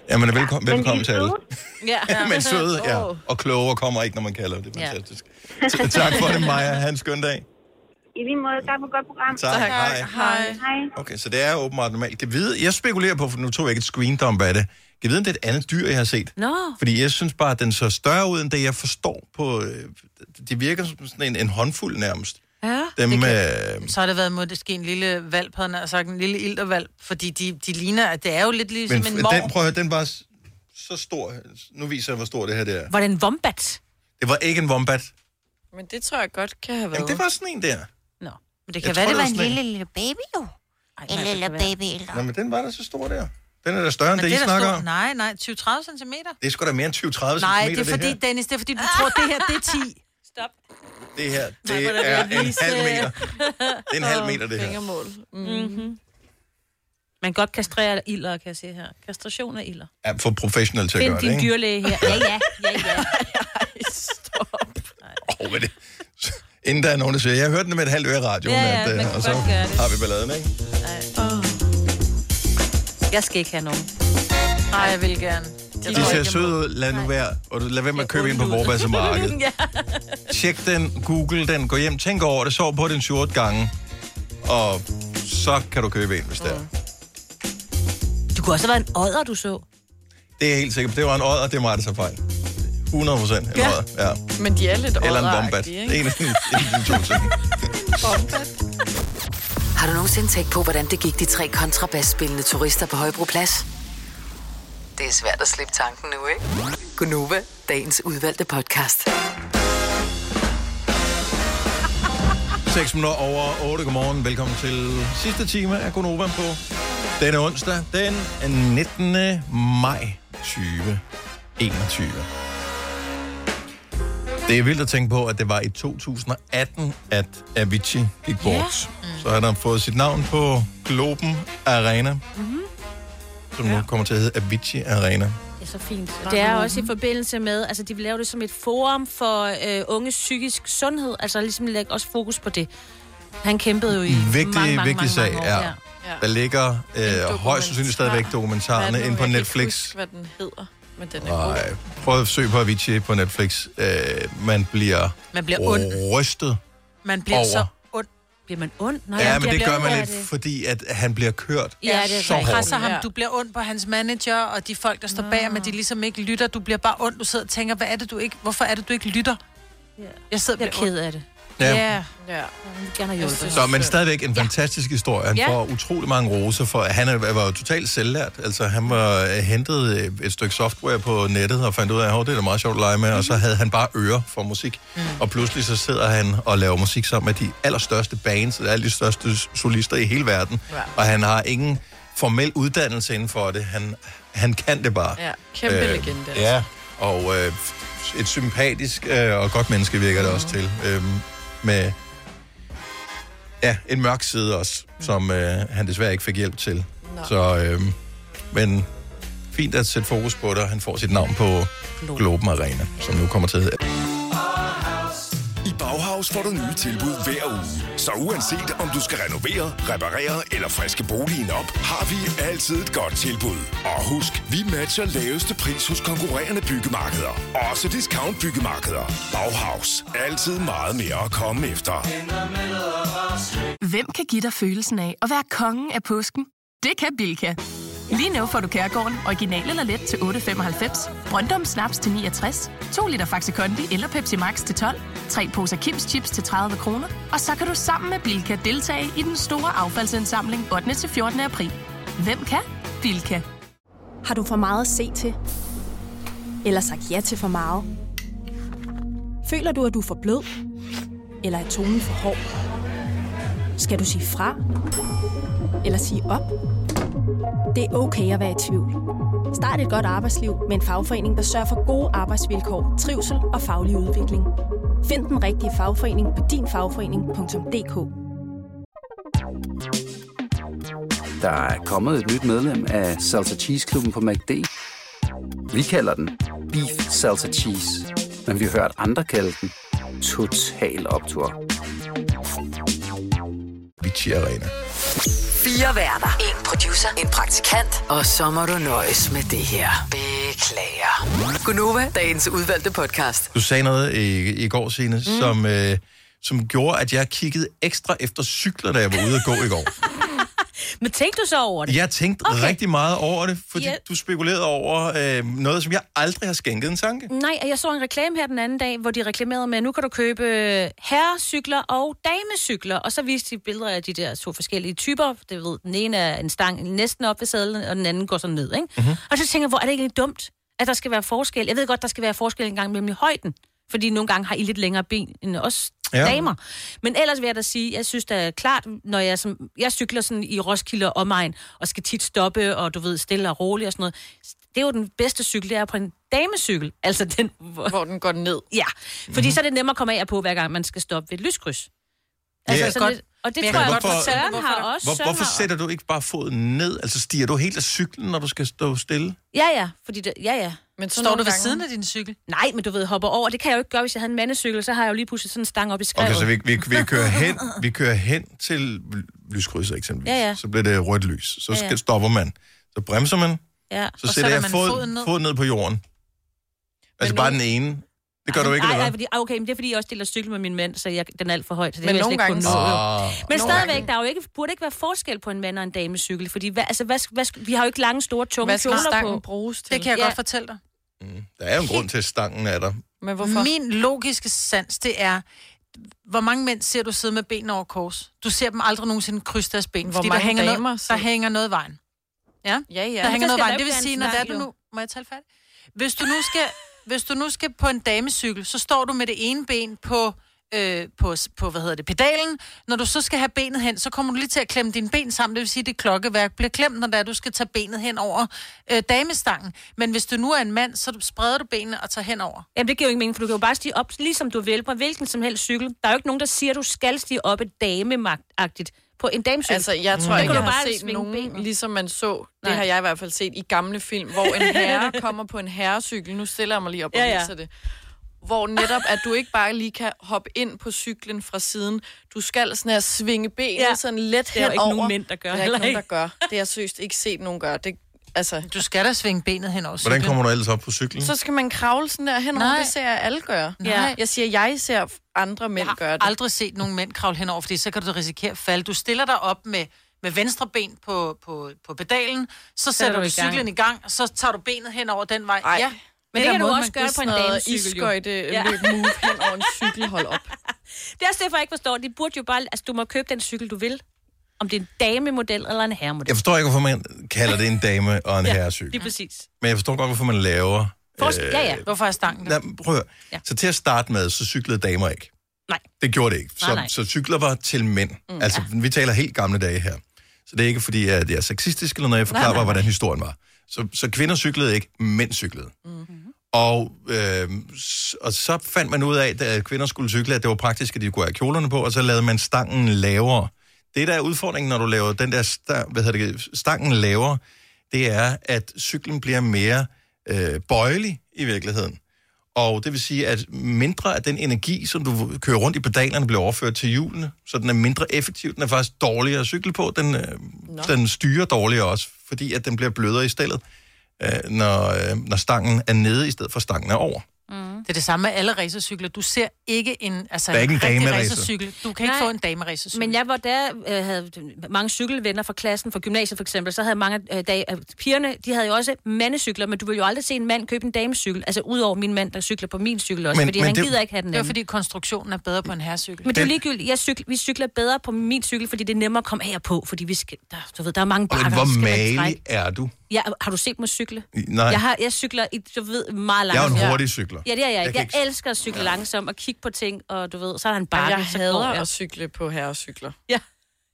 Speaker 1: Jamen, velkommen,
Speaker 17: Men
Speaker 1: velkommen
Speaker 17: de er
Speaker 1: til alle.
Speaker 17: søde.
Speaker 3: Ja.
Speaker 1: <laughs> Men søde, ja.
Speaker 17: Åh.
Speaker 1: Og kloge kommer ikke, når man kalder det. Det er fantastisk. Så tak for det, Maja. Ha' en skøn dag.
Speaker 17: <laughs> I lige måde, tak for et godt program.
Speaker 1: Tak. Tak. Hej.
Speaker 17: Hej. Hej.
Speaker 1: Okay, så det er åbenbart normalt. Kan vide, jeg spekulerer på, for nu tog jeg ikke et screendump af det. Kan vide, om det er et andet dyr, jeg har set?
Speaker 2: Nå.
Speaker 1: Fordi jeg synes bare, at den så større ud, end det jeg forstår på... øh, Det virker som sådan en, en håndfuld nærmest.
Speaker 2: Ah,
Speaker 3: ja.
Speaker 1: Dem,
Speaker 3: det kan...
Speaker 1: øh,
Speaker 3: Så har det været måske en lille valp, havde han sagt, en lille ildervalp, fordi de, de ligner, at det er jo lidt ligesom
Speaker 1: men
Speaker 3: en
Speaker 1: f-
Speaker 3: mor.
Speaker 1: den, prøv at høre, den var s- så stor. Nu viser jeg, hvor stor det her det er.
Speaker 2: Var det en wombat?
Speaker 1: Det var ikke en wombat.
Speaker 4: Men det tror jeg godt kan have været.
Speaker 1: Jamen, det var sådan en der.
Speaker 2: Nå.
Speaker 3: Men det
Speaker 1: Jeg
Speaker 3: kan
Speaker 1: tror,
Speaker 3: være, det
Speaker 1: det
Speaker 3: var
Speaker 1: var
Speaker 3: en
Speaker 1: sådan
Speaker 3: lille, lille baby, jo.
Speaker 1: En lille
Speaker 18: baby.
Speaker 1: Nå, men den var da så stor der. Den er da større end
Speaker 3: Men
Speaker 1: det, I
Speaker 3: er da
Speaker 1: snakker
Speaker 3: stort.
Speaker 1: om.
Speaker 3: Nej, nej, 20-30 cm.
Speaker 1: Det er sgu da mere end 20-30 cm,
Speaker 3: Nej, det er fordi,
Speaker 1: her.
Speaker 3: Dennis, det er fordi, du tror, det her, det er 10. Stop.
Speaker 1: Det her,
Speaker 3: Nej, hvor er
Speaker 1: det
Speaker 3: det
Speaker 1: er en
Speaker 3: vise-
Speaker 1: halv meter. <laughs> Det er en Mm. halv meter, det her.
Speaker 4: Fingermål.
Speaker 1: Mhm.
Speaker 2: Mm-hmm. Man kan godt kastrere ilder, kan jeg se her. Kastration af ilder.
Speaker 1: Ja, for professionelt til at
Speaker 2: Find
Speaker 1: gøre det,
Speaker 2: din
Speaker 1: ikke?
Speaker 2: dyrlæge her. Ja, ja, ja, ja. <laughs>
Speaker 1: Oh, men det. Inden der er nogen, der siger, jeg hørte den med et halvt øre i radioen,
Speaker 2: Ja, ja,
Speaker 1: at, øh,
Speaker 2: man kan
Speaker 1: og så
Speaker 2: godt gøre det.
Speaker 1: har vi balladen, ikke?
Speaker 2: Jeg skal ikke have nogen.
Speaker 3: Nej, jeg vil gerne.
Speaker 1: De ser søde ud, lad nu være, og du- lad være med at købe ind på Vorbasse
Speaker 2: <laughs>
Speaker 1: Marked.
Speaker 3: ja.
Speaker 1: Tjek den, google den, gå hjem, tænk over det, sov på den 7-8 gange, og så kan du købe en, hvis det er.
Speaker 2: Mm. Du kunne også have været en odder, du så.
Speaker 1: Det er jeg helt sikkert. Det var en odder, det var det så fejl. 100 procent en
Speaker 4: Ja.
Speaker 1: odder, ja.
Speaker 4: Men de er lidt
Speaker 1: Eller en
Speaker 4: odderagtige,
Speaker 1: wombat.
Speaker 4: ikke?
Speaker 1: En af de, en af de to ting.
Speaker 5: Har du nogensinde tænkt på, hvordan det gik de tre kontrabasspillende turister på Højbroplads? Det er svært at slippe tanken nu, ikke? Gunova, dagens udvalgte podcast.
Speaker 1: 6 minutter over 8. Godmorgen. Velkommen til sidste time af Gonova på denne onsdag, den 19. maj 2021. Det er vildt at tænke på, at det var i 2018, at Avicii gik bort. Så han har fået sit navn på Globen Arena,
Speaker 2: Mm-hmm.
Speaker 1: som nu kommer til at hedde Avicii Arena.
Speaker 2: Det er så fint. Det er også i forbindelse med, altså de vil lave det som et forum for øh, unges psykisk sundhed, altså ligesom lægge også fokus på det. Han kæmpede jo i
Speaker 1: vigtig,
Speaker 2: mange, mange,
Speaker 1: vigtig
Speaker 2: mange,
Speaker 1: sag,
Speaker 2: mange år.
Speaker 1: ja. Der ligger øh, højst sandsynligt stadigvæk dokumentarerne inde på Netflix.
Speaker 4: Husk, hvad den hedder. Men den er god.
Speaker 1: Nej, prøv at søge på Avicii på Netflix. Øh, man bliver,
Speaker 3: Man bliver ond.
Speaker 1: rystet.
Speaker 3: Man bliver
Speaker 1: over.
Speaker 3: så ond.
Speaker 2: Bliver man ond? <laughs>
Speaker 1: Nej, ja, men det gør man lidt,
Speaker 3: lidt.
Speaker 1: fordi at han bliver kørt
Speaker 3: Ja, det er
Speaker 1: så
Speaker 3: så presser
Speaker 1: hårdt.
Speaker 3: ham. Du bliver ond på hans manager, og de folk, der står bag, men de ligesom ikke lytter. Du bliver bare ond. Du sidder og tænker, hvad er det, du ikke... Hvorfor er det, du ikke lytter? Jeg sidder og
Speaker 2: Jeg er
Speaker 3: bliver
Speaker 2: ked af det.
Speaker 1: Ja.
Speaker 3: Ja. ja.
Speaker 2: Gerne
Speaker 3: Jeg synes,
Speaker 1: Altså, Så, men stadigvæk en fantastisk historie. Han
Speaker 3: Ja.
Speaker 1: får utrolig mange roser, for han er- var jo totalt selvlært. Altså, han var øh, hentet øh, et stykke software på nettet og fandt ud af, at det er da meget sjovt at lege med, og
Speaker 4: Mhm.
Speaker 1: så havde han bare ører for musik. Og pludselig så sidder han og laver musik sammen med de allerstørste bands, og alle de største solister i hele verden.
Speaker 4: Ja.
Speaker 1: Og han har ingen formel uddannelse inden for det. Han, han kan det bare. Øh,
Speaker 4: Ja, kæmpe legende, altså.
Speaker 1: Ja, og øh, et sympatisk øh, og godt menneske virker det også
Speaker 4: Mhm.
Speaker 1: til. Øh, med ja, en mørk side også,
Speaker 2: Mm.
Speaker 1: som øh, han desværre ikke fik hjælp til.
Speaker 8: Nå.
Speaker 1: Så, øh, men fint at sætte fokus på det, og han får sit navn på Globen Arena, som nu kommer til at hedde.
Speaker 8: I Bauhaus får du nye tilbud hver uge. Så uanset om du skal renovere, reparere eller friske boligen op, har vi altid et godt tilbud. Og husk, vi matcher laveste pris hos konkurrerende byggemarkeder. Også discount byggemarkeder. Bauhaus. Altid meget mere at komme efter.
Speaker 13: Hvem kan give dig følelsen af at være kongen af påsken? Det kan Bilka. Lige nu får du Kærgården original eller let til 8.95, Brøndum Snaps til 69, 2 liter Faxi Kondi eller Pepsi Max til 12, 3 poser Kims Chips til 30 kroner, og så kan du sammen med Bilka deltage i den store affaldsindsamling 8. til 14. april. Hvem kan? Bilka.
Speaker 14: Har du for meget at se til? Eller sagt ja til for meget? Føler du, at du er for blød? Eller er tonen for hård? Skal du sige fra? Eller sige op? Det er okay at være i tvivl. Start et godt arbejdsliv med en fagforening, der sørger for gode arbejdsvilkår, trivsel og faglig udvikling. Find den rigtige fagforening på dinfagforening.dk.
Speaker 15: Der er kommet et nyt medlem af Salsa Cheese Klubben på MACD. Vi kalder den Beef Salsa Cheese, men vi har hørt andre kalde den Total Optor.
Speaker 1: Vichy Arena.
Speaker 5: Fire værter. En producer. En praktikant. Og så må du nøjes med det her. Beklager. Gunova, dagens udvalgte podcast.
Speaker 1: Du sagde noget i, i går, Signe, mm. som, øh, som gjorde, at jeg kiggede ekstra efter cykler, da jeg var ude at
Speaker 2: <laughs>
Speaker 1: gå i går.
Speaker 2: Men tænkte du så over det?
Speaker 1: Jeg tænkte okay. rigtig meget over det, fordi
Speaker 2: Ja.
Speaker 1: yeah. du spekulerede over øh, noget, som jeg aldrig har skænket en tanke.
Speaker 2: Nej, og jeg så en reklame her den anden dag, hvor de reklamerede med, at nu kan du købe øh, herrecykler og damecykler. Og så viste de billeder af de der to forskellige typer. Det ved, den ene er en stang næsten op ved sadlen, og den anden går sådan ned. Ikke? Mm-hmm. Og så tænker jeg, hvor er det egentlig dumt, at der skal være forskel? Jeg ved godt, der skal være forskel engang mellem i højden. Fordi nogle gange har I lidt længere ben end os ja.
Speaker 1: Ja.
Speaker 2: damer. Men ellers vil jeg da sige, jeg synes da klart, når jeg, som, jeg cykler sådan i Roskilde og omegn, og skal tit stoppe, og du ved, stille og roligt og sådan noget. Det er jo den bedste cykel, det er på en damecykel. Altså den, hvor,
Speaker 4: hvor den går ned.
Speaker 2: Ja, fordi
Speaker 1: Mhm.
Speaker 2: mm-hmm. så er det nemmere at komme af og på, hver gang man skal stoppe ved et lyskryds. Altså,
Speaker 1: Ja.
Speaker 2: sådan
Speaker 1: Godt.
Speaker 2: lidt- og det
Speaker 1: Men
Speaker 2: tror jeg
Speaker 1: hvorfor-
Speaker 2: godt, for Søren har også.
Speaker 1: Hvor,
Speaker 2: Søren
Speaker 1: hvorfor
Speaker 2: har-
Speaker 1: sætter du ikke bare foden ned? Altså stiger du helt af cyklen, når du skal stå stille?
Speaker 2: Ja, ja, fordi det, ja, ja. Men
Speaker 3: Står du ved siden af
Speaker 2: din cykel? Nej, men du ved, hopper over. Det kan jeg jo ikke gøre, hvis jeg havde en mandecykel, så har jeg jo lige pludselig sådan en stang op i skrevet.
Speaker 1: Okay, så vi, vi, vi, kører hen,
Speaker 2: <laughs>
Speaker 1: vi kører hen til lyskrydset eksempelvis.
Speaker 2: Ja, ja.
Speaker 1: Så bliver det rødt lys. Så
Speaker 2: Ja, ja.
Speaker 1: skal, stopper man. Så bremser man.
Speaker 2: Ja.
Speaker 1: Så sætter jeg fod, foden, ned. foden ned på jorden. Altså bare den ene. Det gør du ikke,
Speaker 2: nej,
Speaker 1: eller
Speaker 2: nej,
Speaker 1: hvad?
Speaker 2: fordi, ah, okay, men det er fordi, jeg også deler cykel med min mand, så jeg, den er alt for højt. Så det
Speaker 4: Men
Speaker 2: vil jeg
Speaker 4: nogle
Speaker 2: slet ikke
Speaker 4: gange-
Speaker 2: kunne nå, jo.
Speaker 1: Ah.
Speaker 2: Men
Speaker 4: Nogle
Speaker 2: stadigvæk,
Speaker 4: gange-
Speaker 2: der er jo ikke, burde ikke være forskel på en mand og en damecykel, fordi hvad, altså, hvad, hvad, vi har jo ikke lange, store, tunge
Speaker 4: Hvad skal
Speaker 2: kjoler på.
Speaker 4: stangen bruges til?
Speaker 3: Det kan jeg godt fortælle dig.
Speaker 1: Der er jo en grund til, at stangen er der.
Speaker 4: Men
Speaker 3: hvorfor? Min logiske sans, det er, hvor mange mænd ser du sidde med benene over kors? Du ser dem aldrig nogensinde krydse deres ben,
Speaker 4: Hvor
Speaker 3: fordi der
Speaker 4: mange
Speaker 3: hænger,
Speaker 4: damer
Speaker 3: noget, der hænger noget i vejen. Ja,
Speaker 4: ja. ja.
Speaker 3: Der
Speaker 4: Men
Speaker 3: hænger
Speaker 4: så
Speaker 3: noget
Speaker 4: skal
Speaker 3: i vejen.
Speaker 4: der
Speaker 3: Det vil
Speaker 4: jo
Speaker 3: sige,
Speaker 4: ikke
Speaker 3: når
Speaker 4: være
Speaker 3: det
Speaker 4: en
Speaker 3: er du
Speaker 4: snegl,
Speaker 3: nu... Må jeg tale færdigt? Hvis du nu skal, hvis du nu skal på en damecykel, så står du med det ene ben på, øh, på, på hvad hedder det, pedalen. Når du så skal have benet hen, så kommer du lige til at klemme dine ben sammen. Det vil sige, at det klokkeværk bliver klemt, når det er, du skal tage benet hen over øh, damestangen. Men hvis du nu er en mand, så spreder du benene og tager hen over.
Speaker 2: Jamen, det giver jo ikke mening, for du kan jo bare stige op, ligesom du vil, på hvilken som helst cykel. Der er jo ikke nogen, der siger, at du skal stige op et damemagtigt på en damecykel.
Speaker 4: Altså, jeg tror
Speaker 2: Der
Speaker 4: ikke, jeg
Speaker 2: kan du
Speaker 4: har
Speaker 2: Mm. bare
Speaker 4: set
Speaker 2: svinge
Speaker 4: nogen,
Speaker 2: benene.
Speaker 4: ligesom man så, det
Speaker 2: Nej.
Speaker 4: har jeg i hvert fald set i gamle film, hvor
Speaker 2: <laughs>
Speaker 4: en herre kommer på en herrecykel, nu stiller jeg mig lige op og
Speaker 2: Ja, ja.
Speaker 4: viser det, hvor netop, at du ikke bare lige kan hoppe ind på cyklen fra siden, du skal sådan her svinge benet ja.
Speaker 2: Ja.
Speaker 4: sådan let
Speaker 2: Det er jo ikke
Speaker 4: henover.
Speaker 2: nogen mænd, der gør,
Speaker 4: Det er ikke
Speaker 2: heller
Speaker 4: nogen, der
Speaker 2: ikke.
Speaker 4: gør. Det har jeg seriøst ikke set nogen gøre. Det, altså.
Speaker 3: Du skal da svinge benet hen over
Speaker 1: Hvordan kommer du ellers op på cyklen?
Speaker 4: Så skal man kravle sådan der henover,
Speaker 3: Nej.
Speaker 4: det ser jeg alle gøre.
Speaker 3: Nej.
Speaker 4: Jeg siger, jeg ser andre mænd gøre det.
Speaker 3: aldrig set nogen mænd kravle henover, fordi så kan du risikere at falde. Du stiller dig op med, med venstre ben på, på, på pedalen, så sætter du,
Speaker 4: du
Speaker 3: du
Speaker 4: i gang.
Speaker 3: cyklen i gang, og så tager du benet hen over den vej.
Speaker 4: Ej.
Speaker 3: Ja.
Speaker 2: Men det kan du også gøre på en damecykel, jo.
Speaker 4: Iskøjte løb move hen over en cykel, hold op.
Speaker 2: Det er også derfor, jeg ikke forstår. De burde jo bare... Altså, du må købe den cykel, du vil. Om det er en damemodel eller en herremodel.
Speaker 1: Jeg forstår ikke, hvorfor man kalder det en dame og en ja,
Speaker 2: Lige
Speaker 1: herrecykel.
Speaker 2: præcis.
Speaker 1: Men jeg forstår godt, hvorfor man laver...
Speaker 2: Forsk-
Speaker 1: Øh,
Speaker 2: ja, ja.
Speaker 3: Hvorfor er stangen
Speaker 1: Nej, men prøv at høre. Ja. Så til at starte med, så cyklede damer ikke.
Speaker 2: Nej.
Speaker 1: Det gjorde det ikke. Så,
Speaker 2: Nej, nej.
Speaker 1: så cykler var til mænd. Mm, altså, ja. vi taler helt gamle dage her. Så det er ikke, fordi at jeg er sexistisk eller noget, jeg forklarer
Speaker 8: Nej,
Speaker 1: nej,
Speaker 8: nej,
Speaker 1: nej.
Speaker 8: nej.
Speaker 1: hvordan historien var. Så, så kvinder cyklede ikke, mænd cyklede. Mm-hmm. Og, øh, s- og så fandt man ud af, da kvinder skulle cykle, at det var praktisk, at de kunne have kjolerne på, og så lavede man stangen lavere. Det, der er udfordringen, når du laver den der sta- hvad hedder det, stangen lavere, det er, at cyklen bliver mere øh, bøjelig i virkeligheden. Og det vil sige, at mindre af den energi, som du kører rundt i pedalerne, bliver overført til hjulene, så den er mindre effektiv. Den er faktisk dårligere at cykle på. Den, øh, den styrer dårligere også, fordi at den bliver blødere i stedet, øh, når, øh, når stangen er nede, i stedet for stangen er over.
Speaker 4: Mm.
Speaker 3: Det er det samme med alle racercykler. Du ser ikke en, altså
Speaker 1: Der er ikke en
Speaker 3: en rigtig
Speaker 1: dameracer.
Speaker 3: racercykel. Du kan ikke
Speaker 2: Nej.
Speaker 3: få en dameracercykel.
Speaker 2: Men jeg var der, øh, havde mange cykelvenner fra klassen, fra gymnasiet for eksempel, så havde mange øh, dag, øh, pigerne, de havde jo også mandecykler, men du vil jo aldrig se en mand købe en damecykel, altså udover min mand, der cykler på min cykel også,
Speaker 3: Men-
Speaker 2: men, fordi
Speaker 3: men
Speaker 2: men han
Speaker 3: det-
Speaker 2: det, gider ikke have den
Speaker 3: Det er
Speaker 2: anden.
Speaker 3: fordi konstruktionen er bedre på en herrecykel.
Speaker 2: Men det er jo ligegyldigt. Jeg cykler, vi cykler bedre på min cykel, fordi det er nemmere at komme af og på, fordi vi skal, der, du ved, der er mange
Speaker 1: Og
Speaker 2: bakker,
Speaker 1: men, hvor
Speaker 2: så skal man
Speaker 1: malig
Speaker 2: trække.
Speaker 1: er du?
Speaker 2: Ja, har du set mig cykle?
Speaker 1: Nej.
Speaker 2: Jeg, har, jeg cykler, i, du ved, meget
Speaker 1: Jeg er
Speaker 2: langsomt.
Speaker 1: en hurtig cykler.
Speaker 2: Ja, det er jeg
Speaker 1: Jeg
Speaker 2: ikke.
Speaker 1: kan
Speaker 2: Jeg, jeg elsker at cykle ja. langsomt og kigge på ting, og du ved, så er der en bakke,
Speaker 4: jeg
Speaker 2: så
Speaker 4: hader
Speaker 2: går jeg.
Speaker 4: at cykle på herrecykler.
Speaker 2: Ja.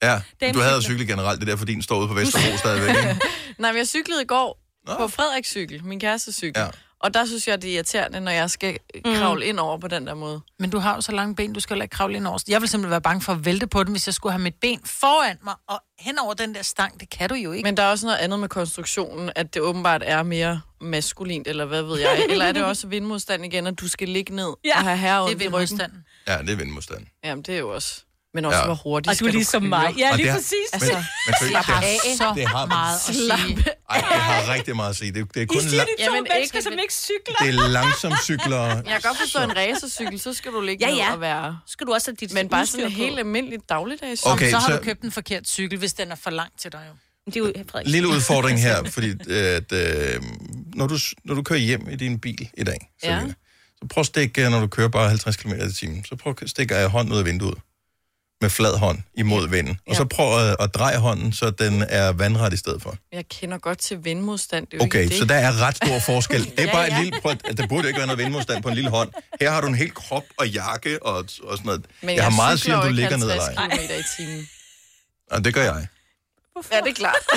Speaker 1: Ja,
Speaker 4: Damecykler.
Speaker 1: du havde cyklet generelt, det er derfor din står ude på <laughs> Vesterbro stadigvæk. ikke?
Speaker 4: Nej, men jeg cyklede i går Nå. på Frederiks cykel, min kærestes cykel. Ja. Og der synes jeg, det er irriterende, når jeg skal kravle ind over på den der måde.
Speaker 3: Men du har jo så lange ben, du skal jo ikke kravle ind over. Jeg vil simpelthen være bange for at vælte på den, hvis jeg skulle have mit ben foran mig og hen over den der stang. Det kan du jo ikke.
Speaker 4: Men der er også noget andet med konstruktionen, at det åbenbart er mere maskulint, eller hvad ved jeg. Eller er det også vindmodstand igen, at du skal ligge ned ja, og have herre
Speaker 3: det er vindmodstand.
Speaker 1: Ja, det er vindmodstand.
Speaker 4: Jamen, det er jo også... Men også,
Speaker 1: Ja.
Speaker 4: hvor hurtigt
Speaker 1: Og du er
Speaker 4: skal
Speaker 1: ligesom
Speaker 4: køre. Altså,
Speaker 1: mig. Ja, Og lige det har- præcis. men- men følg-
Speaker 4: slap
Speaker 1: det har-
Speaker 4: af.
Speaker 1: så det har- meget at sige. Ej, det har rigtig meget at sige. Det, det er kun la-
Speaker 4: Jamen, ikke, som
Speaker 2: ikke cykler.
Speaker 1: det er langsomt cykler.
Speaker 4: Jeg kan godt forstå en racercykel, så skal du ligge
Speaker 3: Ja,
Speaker 4: ja, ja.
Speaker 3: ja.
Speaker 4: ned og være...
Speaker 2: Skal du også have dit
Speaker 4: Men bare sådan en
Speaker 3: udstyr på?
Speaker 4: helt almindelig dagligdags.
Speaker 1: Okay,
Speaker 3: så har
Speaker 1: så-
Speaker 3: du købt en forkert cykel, hvis den er for lang til dig. Jo.
Speaker 2: Det er jo Frederik.
Speaker 1: Lille udfordring her, fordi øh, at, øh, når, du, når du kører hjem i din bil i dag,
Speaker 3: Ja.
Speaker 1: så prøv at stikke, øh, når du kører bare 50 km i timen, så prøv at stikke øh, hånden ud af vinduet. med flad hånd imod vinden. Og så prøv at, at dreje hånden, så den er vandret i stedet for.
Speaker 4: Jeg kender godt til vindmodstand. Det er jo
Speaker 1: Okay,
Speaker 4: ikke det.
Speaker 1: så der er ret stor
Speaker 4: <laughs>
Speaker 1: forskel. Det er
Speaker 4: Ja,
Speaker 1: bare
Speaker 4: ja.
Speaker 1: en lille... Prøv, at- der burde jo ikke være noget vindmodstand på en lille hånd. Her har du en hel krop og jakke og, og sådan noget. jeg, har meget at sige, om du ligger ned eller ej.
Speaker 4: kilometer i timen.
Speaker 1: Og det gør jeg.
Speaker 4: Ja, det er klart.
Speaker 3: <laughs>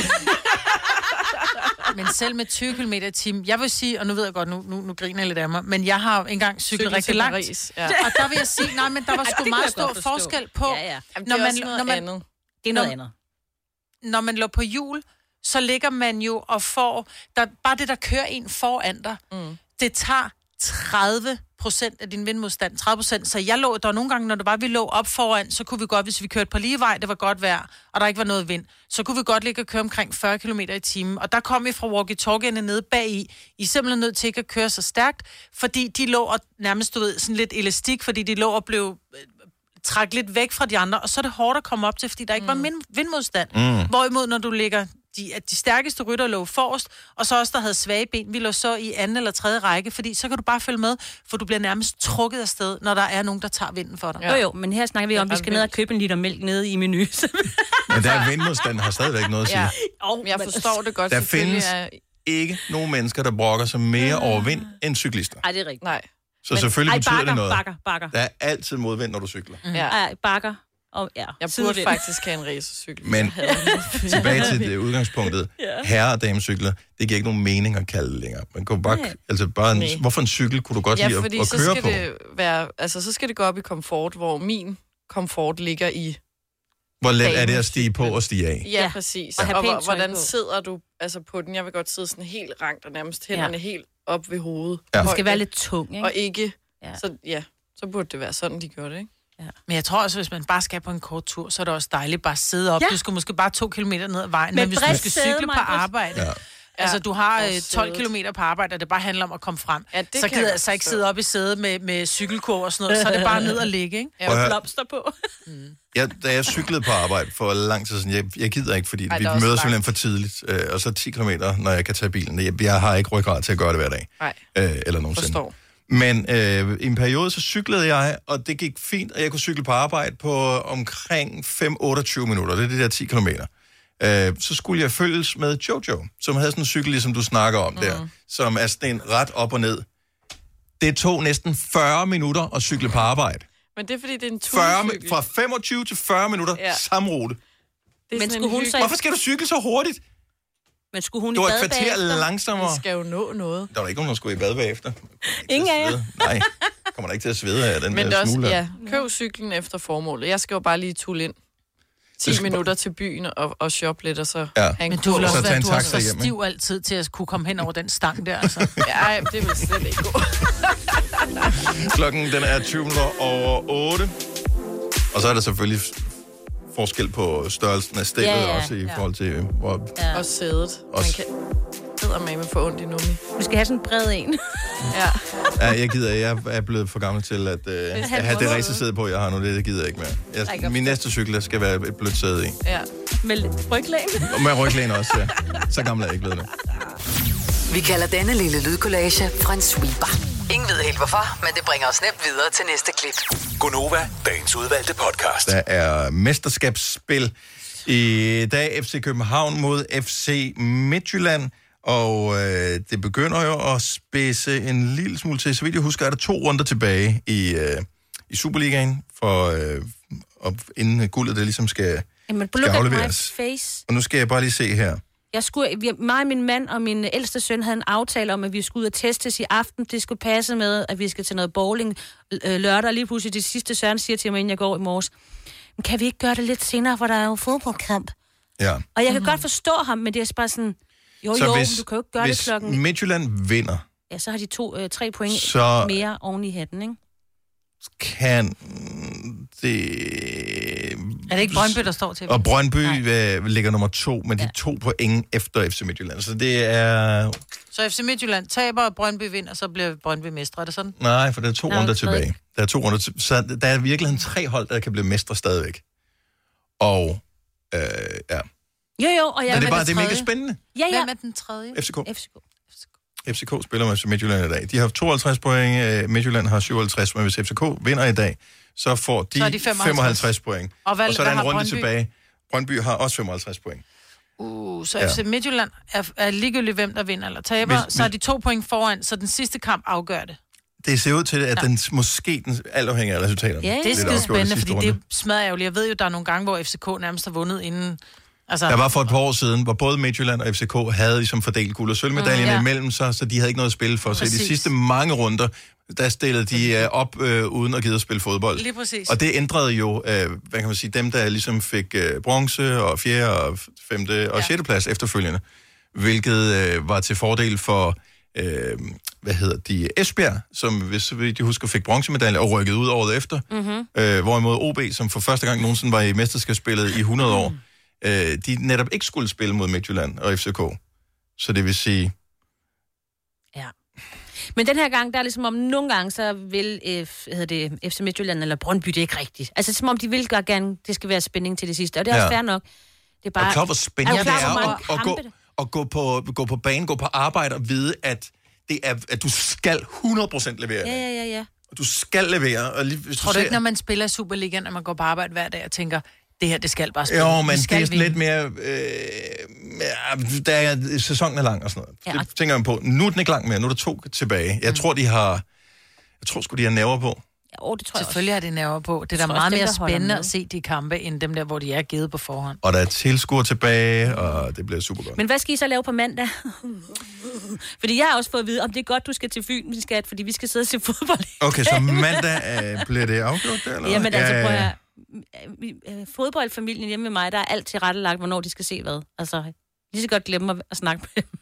Speaker 3: Men selv med 20 km i timen, jeg vil sige, og nu ved jeg godt, nu, nu, nu griner jeg lidt af mig, men jeg har jo engang cyklet
Speaker 4: Cyklet
Speaker 3: Cykel
Speaker 4: til
Speaker 3: rigtig langt.
Speaker 4: Paris,
Speaker 3: Paris,
Speaker 4: ja.
Speaker 3: ja. Og der vil jeg sige, nej, men
Speaker 4: <laughs>
Speaker 3: der var
Speaker 4: Ej, det
Speaker 3: sgu
Speaker 4: kan
Speaker 3: meget
Speaker 4: jeg godt
Speaker 3: stor
Speaker 4: forstå.
Speaker 3: forskel på,
Speaker 4: Ja, ja. Jamen, det er også noget andet.
Speaker 2: Det er noget andet.
Speaker 3: Når man lå på hjul, så ligger man jo og får, der, bare det, der kører en foran dig, mm. det tager 30 procent af din vindmodstand, 30 procent. Så jeg lå, der var nogle gange, når det var, vi lå op foran, så kunne vi godt, hvis vi kørte på lige vej, det var godt vejr, og der ikke var noget vind, så kunne vi godt ligge og køre omkring 40 km i timen. Og der kom vi fra walkie-talkierne nede bagi. I er simpelthen nødt til ikke at køre så stærkt, fordi de lå og nærmest, du ved, sådan lidt elastik, fordi de lå og blev øh, træk lidt væk fra de andre, og så er det hårdt at komme op til, fordi der ikke var min- vindmodstand.
Speaker 7: Mm.
Speaker 3: Mm. Hvorimod, når du ligger de, at de stærkeste rytter lå forrest, og så også der havde svage ben, vi lå så i anden eller tredje række, fordi så kan du bare følge med, for du bliver nærmest trukket afsted, når der er nogen, der tager vinden for dig.
Speaker 2: Jo, jo, men her snakker vi om, at vi skal ned og købe en liter mælk nede i <laughs> menu.
Speaker 1: Men der er vindmodstand har stadigvæk noget at sige.
Speaker 2: oh,
Speaker 4: jeg forstår det godt.
Speaker 1: Der
Speaker 4: selvfølgelig
Speaker 1: findes
Speaker 4: er- Ah.
Speaker 1: ikke nogen mennesker, der brokker sig mere over vind end cyklister.
Speaker 2: Ej, det er rigtigt.
Speaker 4: Nej.
Speaker 1: Så selvfølgelig
Speaker 2: ej,
Speaker 1: betyder
Speaker 2: bakker,
Speaker 1: det noget.
Speaker 2: Bakker, bakker,
Speaker 1: Der er altid modvind, når du cykler.
Speaker 4: <laughs> Mhm.
Speaker 2: Ja. Ej, bakker. Og, ja,
Speaker 4: Jeg burde
Speaker 2: sidevind.
Speaker 4: faktisk have en racercykel.
Speaker 1: Men tilbage til det udgangspunktet.
Speaker 4: Ja.
Speaker 1: Herre- og damecykler, det giver ikke nogen mening at kalde det længere. Man kunne bare,
Speaker 4: Nej.
Speaker 1: altså bare
Speaker 4: Nej.
Speaker 1: en, hvorfor en cykel kunne du godt lide
Speaker 4: ja,
Speaker 1: at,
Speaker 4: fordi
Speaker 1: at
Speaker 4: så
Speaker 1: køre
Speaker 4: skal
Speaker 1: på?
Speaker 4: det være, altså så skal det gå op i komfort, hvor min komfort ligger i.
Speaker 1: Hvor let er det at stige på og stige af?
Speaker 4: Ja, ja. præcis.
Speaker 1: Og
Speaker 4: Og,
Speaker 1: have
Speaker 4: og
Speaker 1: pænt
Speaker 4: hvor-
Speaker 1: tøj
Speaker 4: hvordan
Speaker 1: på.
Speaker 4: sidder du altså på den? Jeg vil godt sidde sådan helt rankt og nærmest hænderne ja. helt op ved hovedet.
Speaker 1: Ja. Den
Speaker 2: skal være lidt tung, ikke?
Speaker 4: Og ikke,
Speaker 2: ja.
Speaker 4: Så, ja, så burde det være sådan, de gjorde det, ikke?
Speaker 3: Men jeg tror også, hvis man bare skal på en kort tur, så er det også dejligt bare at sidde op.
Speaker 4: Ja.
Speaker 3: Ja. Du skal måske bare to kilometer ned ad vejen,
Speaker 4: Med
Speaker 3: Med men hvis
Speaker 4: bredt
Speaker 3: du skal
Speaker 4: sæde,
Speaker 3: cykle på
Speaker 4: Maj-Brit.
Speaker 3: arbejde...
Speaker 4: Ja.
Speaker 3: Ja. Altså, du har
Speaker 4: Ja,
Speaker 3: øh,
Speaker 4: og
Speaker 3: 12
Speaker 4: sædet.
Speaker 3: km på arbejde, og det bare handler om at komme frem. Ja,
Speaker 4: kan
Speaker 3: så
Speaker 4: jeg
Speaker 3: gider jeg altså
Speaker 4: godt
Speaker 3: ikke
Speaker 4: forstå.
Speaker 3: sidde op i sædet med, med cykelkur og sådan noget. Så er det bare ned og ligge, ikke?
Speaker 1: Ja, og Prøv at høre. blomster
Speaker 3: på.
Speaker 1: Jeg, da jeg cyklede på arbejde for lang tid siden, jeg, jeg gider ikke, fordi
Speaker 3: Ej,
Speaker 1: Ej, vi
Speaker 3: der er også
Speaker 1: møder
Speaker 3: langt.
Speaker 1: simpelthen for tidligt, øh, og så 10 km, når jeg kan tage bilen. Jeg, jeg har ikke ryggrad til at gøre det hver dag.
Speaker 4: Nej.
Speaker 1: øh, eller nogensinde.
Speaker 4: Forstår.
Speaker 1: Men øh, i en periode, så cyklede jeg, og det gik fint, og jeg kunne cykle på arbejde på omkring 5-28 minutter. Det er det der 10 km. Øh, så skulle jeg følges med Jojo, som havde sådan en cykel, ligesom du snakker om mm. der,
Speaker 3: Mhm.
Speaker 1: som er sådan en ret op og ned. Det tog næsten 40 minutter at cykle på arbejde.
Speaker 4: Men det er, fordi det er en tur.
Speaker 1: 40, mi- fra 25 til 40 minutter,
Speaker 4: Ja.
Speaker 1: ja. samme rute.
Speaker 2: Men skulle hun så...
Speaker 1: Hvorfor skal du cykle så hurtigt?
Speaker 2: Men skulle hun
Speaker 1: Det var
Speaker 2: i
Speaker 1: et
Speaker 2: bad
Speaker 1: kvarter
Speaker 2: bagefter?
Speaker 1: langsommere.
Speaker 4: skal jo nå noget.
Speaker 1: Der var ikke nogen, der skulle i bad bagefter.
Speaker 2: Ingen af jer.
Speaker 1: Nej, kommer der ikke til at svede af den
Speaker 4: Men det
Speaker 1: der
Speaker 4: er også,
Speaker 1: smule. der.
Speaker 4: ja, køb cyklen efter formålet. Jeg skal jo bare lige tulle ind. 10
Speaker 1: Det skal-
Speaker 4: minutter til byen og, og shoppe lidt, og så
Speaker 1: Ja.
Speaker 4: have en
Speaker 1: Men du vil
Speaker 4: kur.
Speaker 1: også Og så være- tage en
Speaker 3: Du er
Speaker 1: taxa
Speaker 3: så
Speaker 1: hjem, ikke?
Speaker 3: stiv altid til at kunne komme hen over den stang der, altså.
Speaker 4: Ja, det vil slet ikke gå.
Speaker 1: Klokken den er 20 minutter over 8. Og så er der selvfølgelig forskel på størrelsen af stillet,
Speaker 4: Ja,
Speaker 1: ja,
Speaker 4: ja,
Speaker 1: ja, også i
Speaker 4: ja.
Speaker 1: forhold til, øh, hvor...
Speaker 4: Ja. Og sædet.
Speaker 1: Også.
Speaker 4: Man kan eddermame få ondt i nummi.
Speaker 2: Du skal have sådan en bred en.
Speaker 4: Ja.
Speaker 1: Ja, jeg gider, jeg er blevet for gammel til at øh,
Speaker 2: han
Speaker 1: have det
Speaker 2: prøver.
Speaker 1: racersæde på, jeg har nu. Det, det gider jeg ikke mere.
Speaker 2: Ej,
Speaker 1: Jeg,
Speaker 2: godt.
Speaker 1: min næste cykel der skal være et blødt
Speaker 4: <laughs>
Speaker 1: sæde i.
Speaker 4: Ja.
Speaker 2: Med lidt ryglæn.
Speaker 1: Og med ryglæn også, ja. Så gammel er jeg ikke blevet nu.
Speaker 5: Vi kalder denne lille lydkollage en sweeper. Ingen ved helt hvorfor, men det bringer os nemt videre til næste klip.
Speaker 8: Gonova, dagens udvalgte podcast.
Speaker 1: Der er mesterskabsspil i dag. FC København mod FC Midtjylland. Og øh, det begynder jo at spidse en lille smule til. Så vidt jeg husker, er der to runder tilbage i, øh, i Superligaen, for, øh, og inden guldet der ligesom skal,
Speaker 2: Jamen,
Speaker 1: skal
Speaker 2: look at my
Speaker 1: afleveres.
Speaker 2: face.
Speaker 1: Og nu skal jeg bare lige se her.
Speaker 2: Jeg skulle, vi, mig, min mand og min ældste søn havde en aftale om, at vi skulle ud og testes i aften. Det skulle passe med, at vi skal til noget bowling øh, lørdag. Lige pludselig det sidste Søren siger til mig, inden jeg går i morges. Men kan vi ikke gøre det lidt senere, for der er jo fodboldkamp?
Speaker 1: Ja.
Speaker 2: Og jeg kan
Speaker 1: Mhm.
Speaker 2: godt forstå ham, men det er bare sådan, jo jo, hvis, men du kan jo ikke gøre
Speaker 1: hvis
Speaker 2: det klokken.
Speaker 1: Midtjylland vinder,
Speaker 2: Ja, så har de to, øh, tre point
Speaker 1: Så-
Speaker 2: så... mere oven i hatten, ikke?
Speaker 1: kan det...
Speaker 3: Er det ikke Brøndby, der står til?
Speaker 1: Og Brøndby øh, ligger nummer to, men de er to point efter FC Midtjylland. Så det er...
Speaker 3: Så FC Midtjylland taber, og Brøndby vinder, og så bliver Brøndby mestre. Er det sådan?
Speaker 1: Nej, for der er to
Speaker 3: Nå,
Speaker 1: runder
Speaker 3: stadig.
Speaker 1: tilbage. Der er to runder til... Så der er i virkeligheden tre hold, der kan blive mestre stadigvæk. Og... Øh, ja.
Speaker 2: Jo jo, og jeg
Speaker 1: Men det er
Speaker 2: Hvem
Speaker 1: bare-
Speaker 2: den
Speaker 1: det er mega
Speaker 2: tredje?
Speaker 1: spændende.
Speaker 2: Ja, ja.
Speaker 3: Hvem er den tredje?
Speaker 1: FCK.
Speaker 2: FCK.
Speaker 1: FCK spiller med FC Midtjylland i dag. De har haft 52 point, øh, Midtjylland har 57, men hvis FCK vinder i dag, så får de,
Speaker 3: Så er
Speaker 1: de
Speaker 3: de
Speaker 1: 55.
Speaker 3: 55
Speaker 1: point.
Speaker 3: Og hvad-
Speaker 1: og så er der
Speaker 3: hvad
Speaker 1: en
Speaker 3: har
Speaker 1: runde
Speaker 3: Brøndby?
Speaker 1: tilbage. Brøndby har også 55 point.
Speaker 3: Uh, så
Speaker 1: Ja.
Speaker 3: ja. FC Midtjylland er, er ligegyldigt, hvem der vinder eller taber.
Speaker 1: Hvis-
Speaker 3: Hvis, så er
Speaker 1: hvis-
Speaker 3: de to point foran, så den sidste kamp afgør det.
Speaker 1: Det ser ud til, at
Speaker 3: Ja.
Speaker 1: den måske, den, alt afhænger af resultaterne.
Speaker 3: det er
Speaker 1: lidt
Speaker 3: skide
Speaker 1: afgjort i
Speaker 3: spændende,
Speaker 1: sidste
Speaker 3: fordi
Speaker 1: runde.
Speaker 3: det smadrer jeg jo lige. Jeg ved jo, der er nogle gange, hvor FCK nærmest har vundet inden... Altså,
Speaker 1: Der var for et par år siden, hvor både Midtjylland og FCK havde ligesom fordelt guld- og sølvmedaljerne
Speaker 3: Mm,
Speaker 1: mm,
Speaker 3: ja.
Speaker 1: imellem sig, så de havde ikke noget at spille for. Så i de
Speaker 3: Præcis.
Speaker 1: sidste mange runder, der stillede de øh, op øh, uden at gide at spille fodbold.
Speaker 3: Lige præcis.
Speaker 1: Og det ændrede jo, øh, hvad kan man sige, dem der ligesom fik øh, bronze og fjerde og f- femte og ja. sjette plads efterfølgende, hvilket øh, var til fordel for, øh, hvad hedder de, Esbjerg, som hvis jeg husker fik bronzemedalje og rykkede ud året efter.
Speaker 7: Mm-hmm.
Speaker 3: Mhm.
Speaker 1: Øh, hvorimod OB, som for første gang nogensinde var i mesterskabsspillet i 100 år,
Speaker 3: Mhm.
Speaker 1: øh, de netop ikke skulle spille mod Midtjylland og FCK. Så det vil sige,
Speaker 2: Men den her gang, der er ligesom om, nogle gange, så vil øh, hvad hedder det, FC Midtjylland eller Brøndby det er ikke rigtigt. Altså, som om de vil gøre gerne, det skal være spænding til det sidste. Og det er også
Speaker 1: Ja.
Speaker 2: fair nok. Det er
Speaker 1: Bare, er
Speaker 2: bare...
Speaker 1: du klar, hvor spændende
Speaker 2: du
Speaker 1: det
Speaker 2: klar, hvor
Speaker 1: er
Speaker 2: mange
Speaker 1: at, at,
Speaker 2: kampe
Speaker 1: gå, at gå, på, gå på banen, gå på arbejde og vide, at, det er, at du skal 100% levere.
Speaker 3: Ja,
Speaker 1: Ja.
Speaker 3: ja, ja, ja.
Speaker 1: Du skal levere. Og lige, hvis
Speaker 3: Tror du
Speaker 1: ser,
Speaker 3: ikke, når man spiller i Superligaen, at man går på arbejde hver dag og tænker, det her, det skal bare spille.
Speaker 1: Jo,
Speaker 3: Vi
Speaker 1: men det
Speaker 3: skal
Speaker 1: er sådan
Speaker 3: vinde.
Speaker 1: lidt mere... Øh, der er, sæsonen er lang og sådan noget. Ja.
Speaker 3: Ja.
Speaker 1: Det tænker man på. Nu er den ikke lang mere. Nu er der to tilbage. Jeg mm. tror, de har... Jeg tror sgu, de har nerver på.
Speaker 2: Jo, det tror
Speaker 3: jeg Selvfølgelig har de nerver på. Det er
Speaker 2: Jeg
Speaker 3: da
Speaker 2: tror
Speaker 3: meget
Speaker 2: også, dem,
Speaker 3: mere
Speaker 2: der holder
Speaker 3: spændende
Speaker 2: med.
Speaker 3: at se de kampe, end dem der, hvor de er givet på forhånd.
Speaker 1: Og der er tilskuer tilbage, og det bliver super godt.
Speaker 2: Men hvad skal I så lave på mandag? <laughs> fordi jeg har også fået at vide, om det er godt, du skal til Fyn, min skat, fordi vi skal sidde og se fodbold.
Speaker 1: Okay, så mandag øh, bliver det afgjort der, eller hvad?
Speaker 2: Jamen altså,
Speaker 1: Ja,
Speaker 2: prøv at
Speaker 1: ja,
Speaker 2: høre. Øh, øh, Fodboldfamilien hjemme med mig, der er alt tilrettelagt, hvornår de skal se hvad. Altså, lige så godt glemme at, at snakke med dem.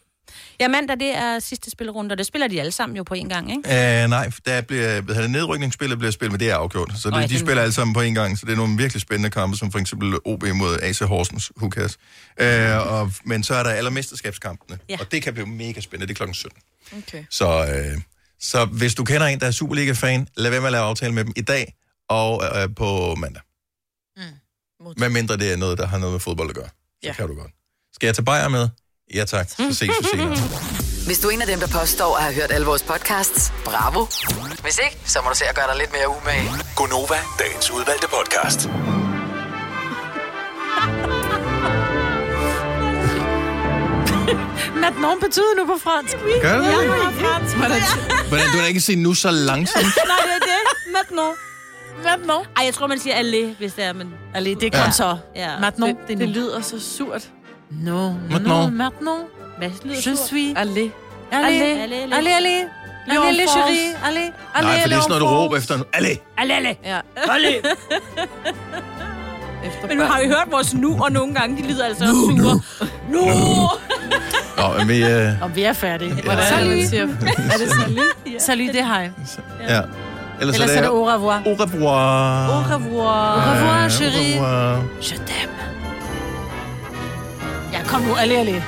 Speaker 2: Ja, mandag, det er sidste spillerunde, og det spiller de alle sammen jo på en gang, ikke?
Speaker 1: ja. Øh, nej, der bliver, hvad hedder det, nedrykningsspillet bliver spillet, men det er afgjort. Så det, de spiller alle sammen på en gang, så det er nogle virkelig spændende kampe, som for eksempel OB mod AC Horsens, who cares. Øh, og, men så er der alle mesterskabskampene, ja.
Speaker 4: Ja.
Speaker 1: og det kan blive mega spændende, det er klokken 17.
Speaker 4: Okay.
Speaker 1: Så, øh, så hvis du kender en, der er Superliga-fan, lad være med at lave aftale med dem i dag og øh, på mandag. Mm. Hvad mindre det er noget, der har noget med fodbold at gøre. Så ja. kan du godt. Skal jeg tage bajer med? Ja tak, så ses vi senere.
Speaker 5: Hvis du er en af dem, der påstår at have hørt alle vores podcasts, bravo. Hvis ikke, så må du se at gøre dig lidt mere umage.
Speaker 8: Gonova, dagens udvalgte podcast.
Speaker 3: Maintenant betyder nu på fransk. Oui.
Speaker 1: Gør det
Speaker 3: Ja,
Speaker 1: det?
Speaker 3: nu er fransk. Hvordan?
Speaker 1: Hvordan, du har ikke set nu så langsomt?
Speaker 2: <laughs> Nej, det er det. Maintenant. Maintenant. Ej, jeg tror, man siger allé, hvis det er, men... Allé, det
Speaker 3: kan Ja. så.
Speaker 2: Ja.
Speaker 3: Maintenant,
Speaker 2: Det,
Speaker 3: det er
Speaker 2: det
Speaker 3: nu.
Speaker 2: lyder så surt.
Speaker 3: No,
Speaker 2: Maintenant.
Speaker 3: maintenant. maintenant.
Speaker 2: Hvad lyder
Speaker 3: Je
Speaker 2: surt?
Speaker 3: suis...
Speaker 4: Allez.
Speaker 2: Allez,
Speaker 3: Allez, allez,
Speaker 2: allez.
Speaker 3: allez. Allez,
Speaker 2: Allez,
Speaker 3: allez,
Speaker 2: en France.
Speaker 3: chérie. Allez, allez,
Speaker 1: Nej, for det er
Speaker 3: allez,
Speaker 1: sådan noget,
Speaker 3: en
Speaker 1: du
Speaker 3: France.
Speaker 1: råber efter en... Allez!
Speaker 2: Alle, alle.
Speaker 4: Ja.
Speaker 3: <laughs>
Speaker 2: Alle. Men nu har vi hørt vores nu, og nogle gange, de lyder altså nu, sure. Nu. nu.
Speaker 1: Nå, men vi... Øh,
Speaker 3: Og vi er færdige. Hvordan
Speaker 1: Ja.
Speaker 3: er det, man siger?
Speaker 1: Salut.
Speaker 3: Er det salut? Salut, det er hej.
Speaker 1: ja. Ellers,
Speaker 3: Ellers er det au revoir.
Speaker 1: Au revoir.
Speaker 3: Au revoir. Au revoir, chérie.
Speaker 1: Ah. Au revoir.
Speaker 3: Je t'aime. <laughs>
Speaker 1: Mhm. <laughs>
Speaker 3: Ja, kom nu, alle, alle.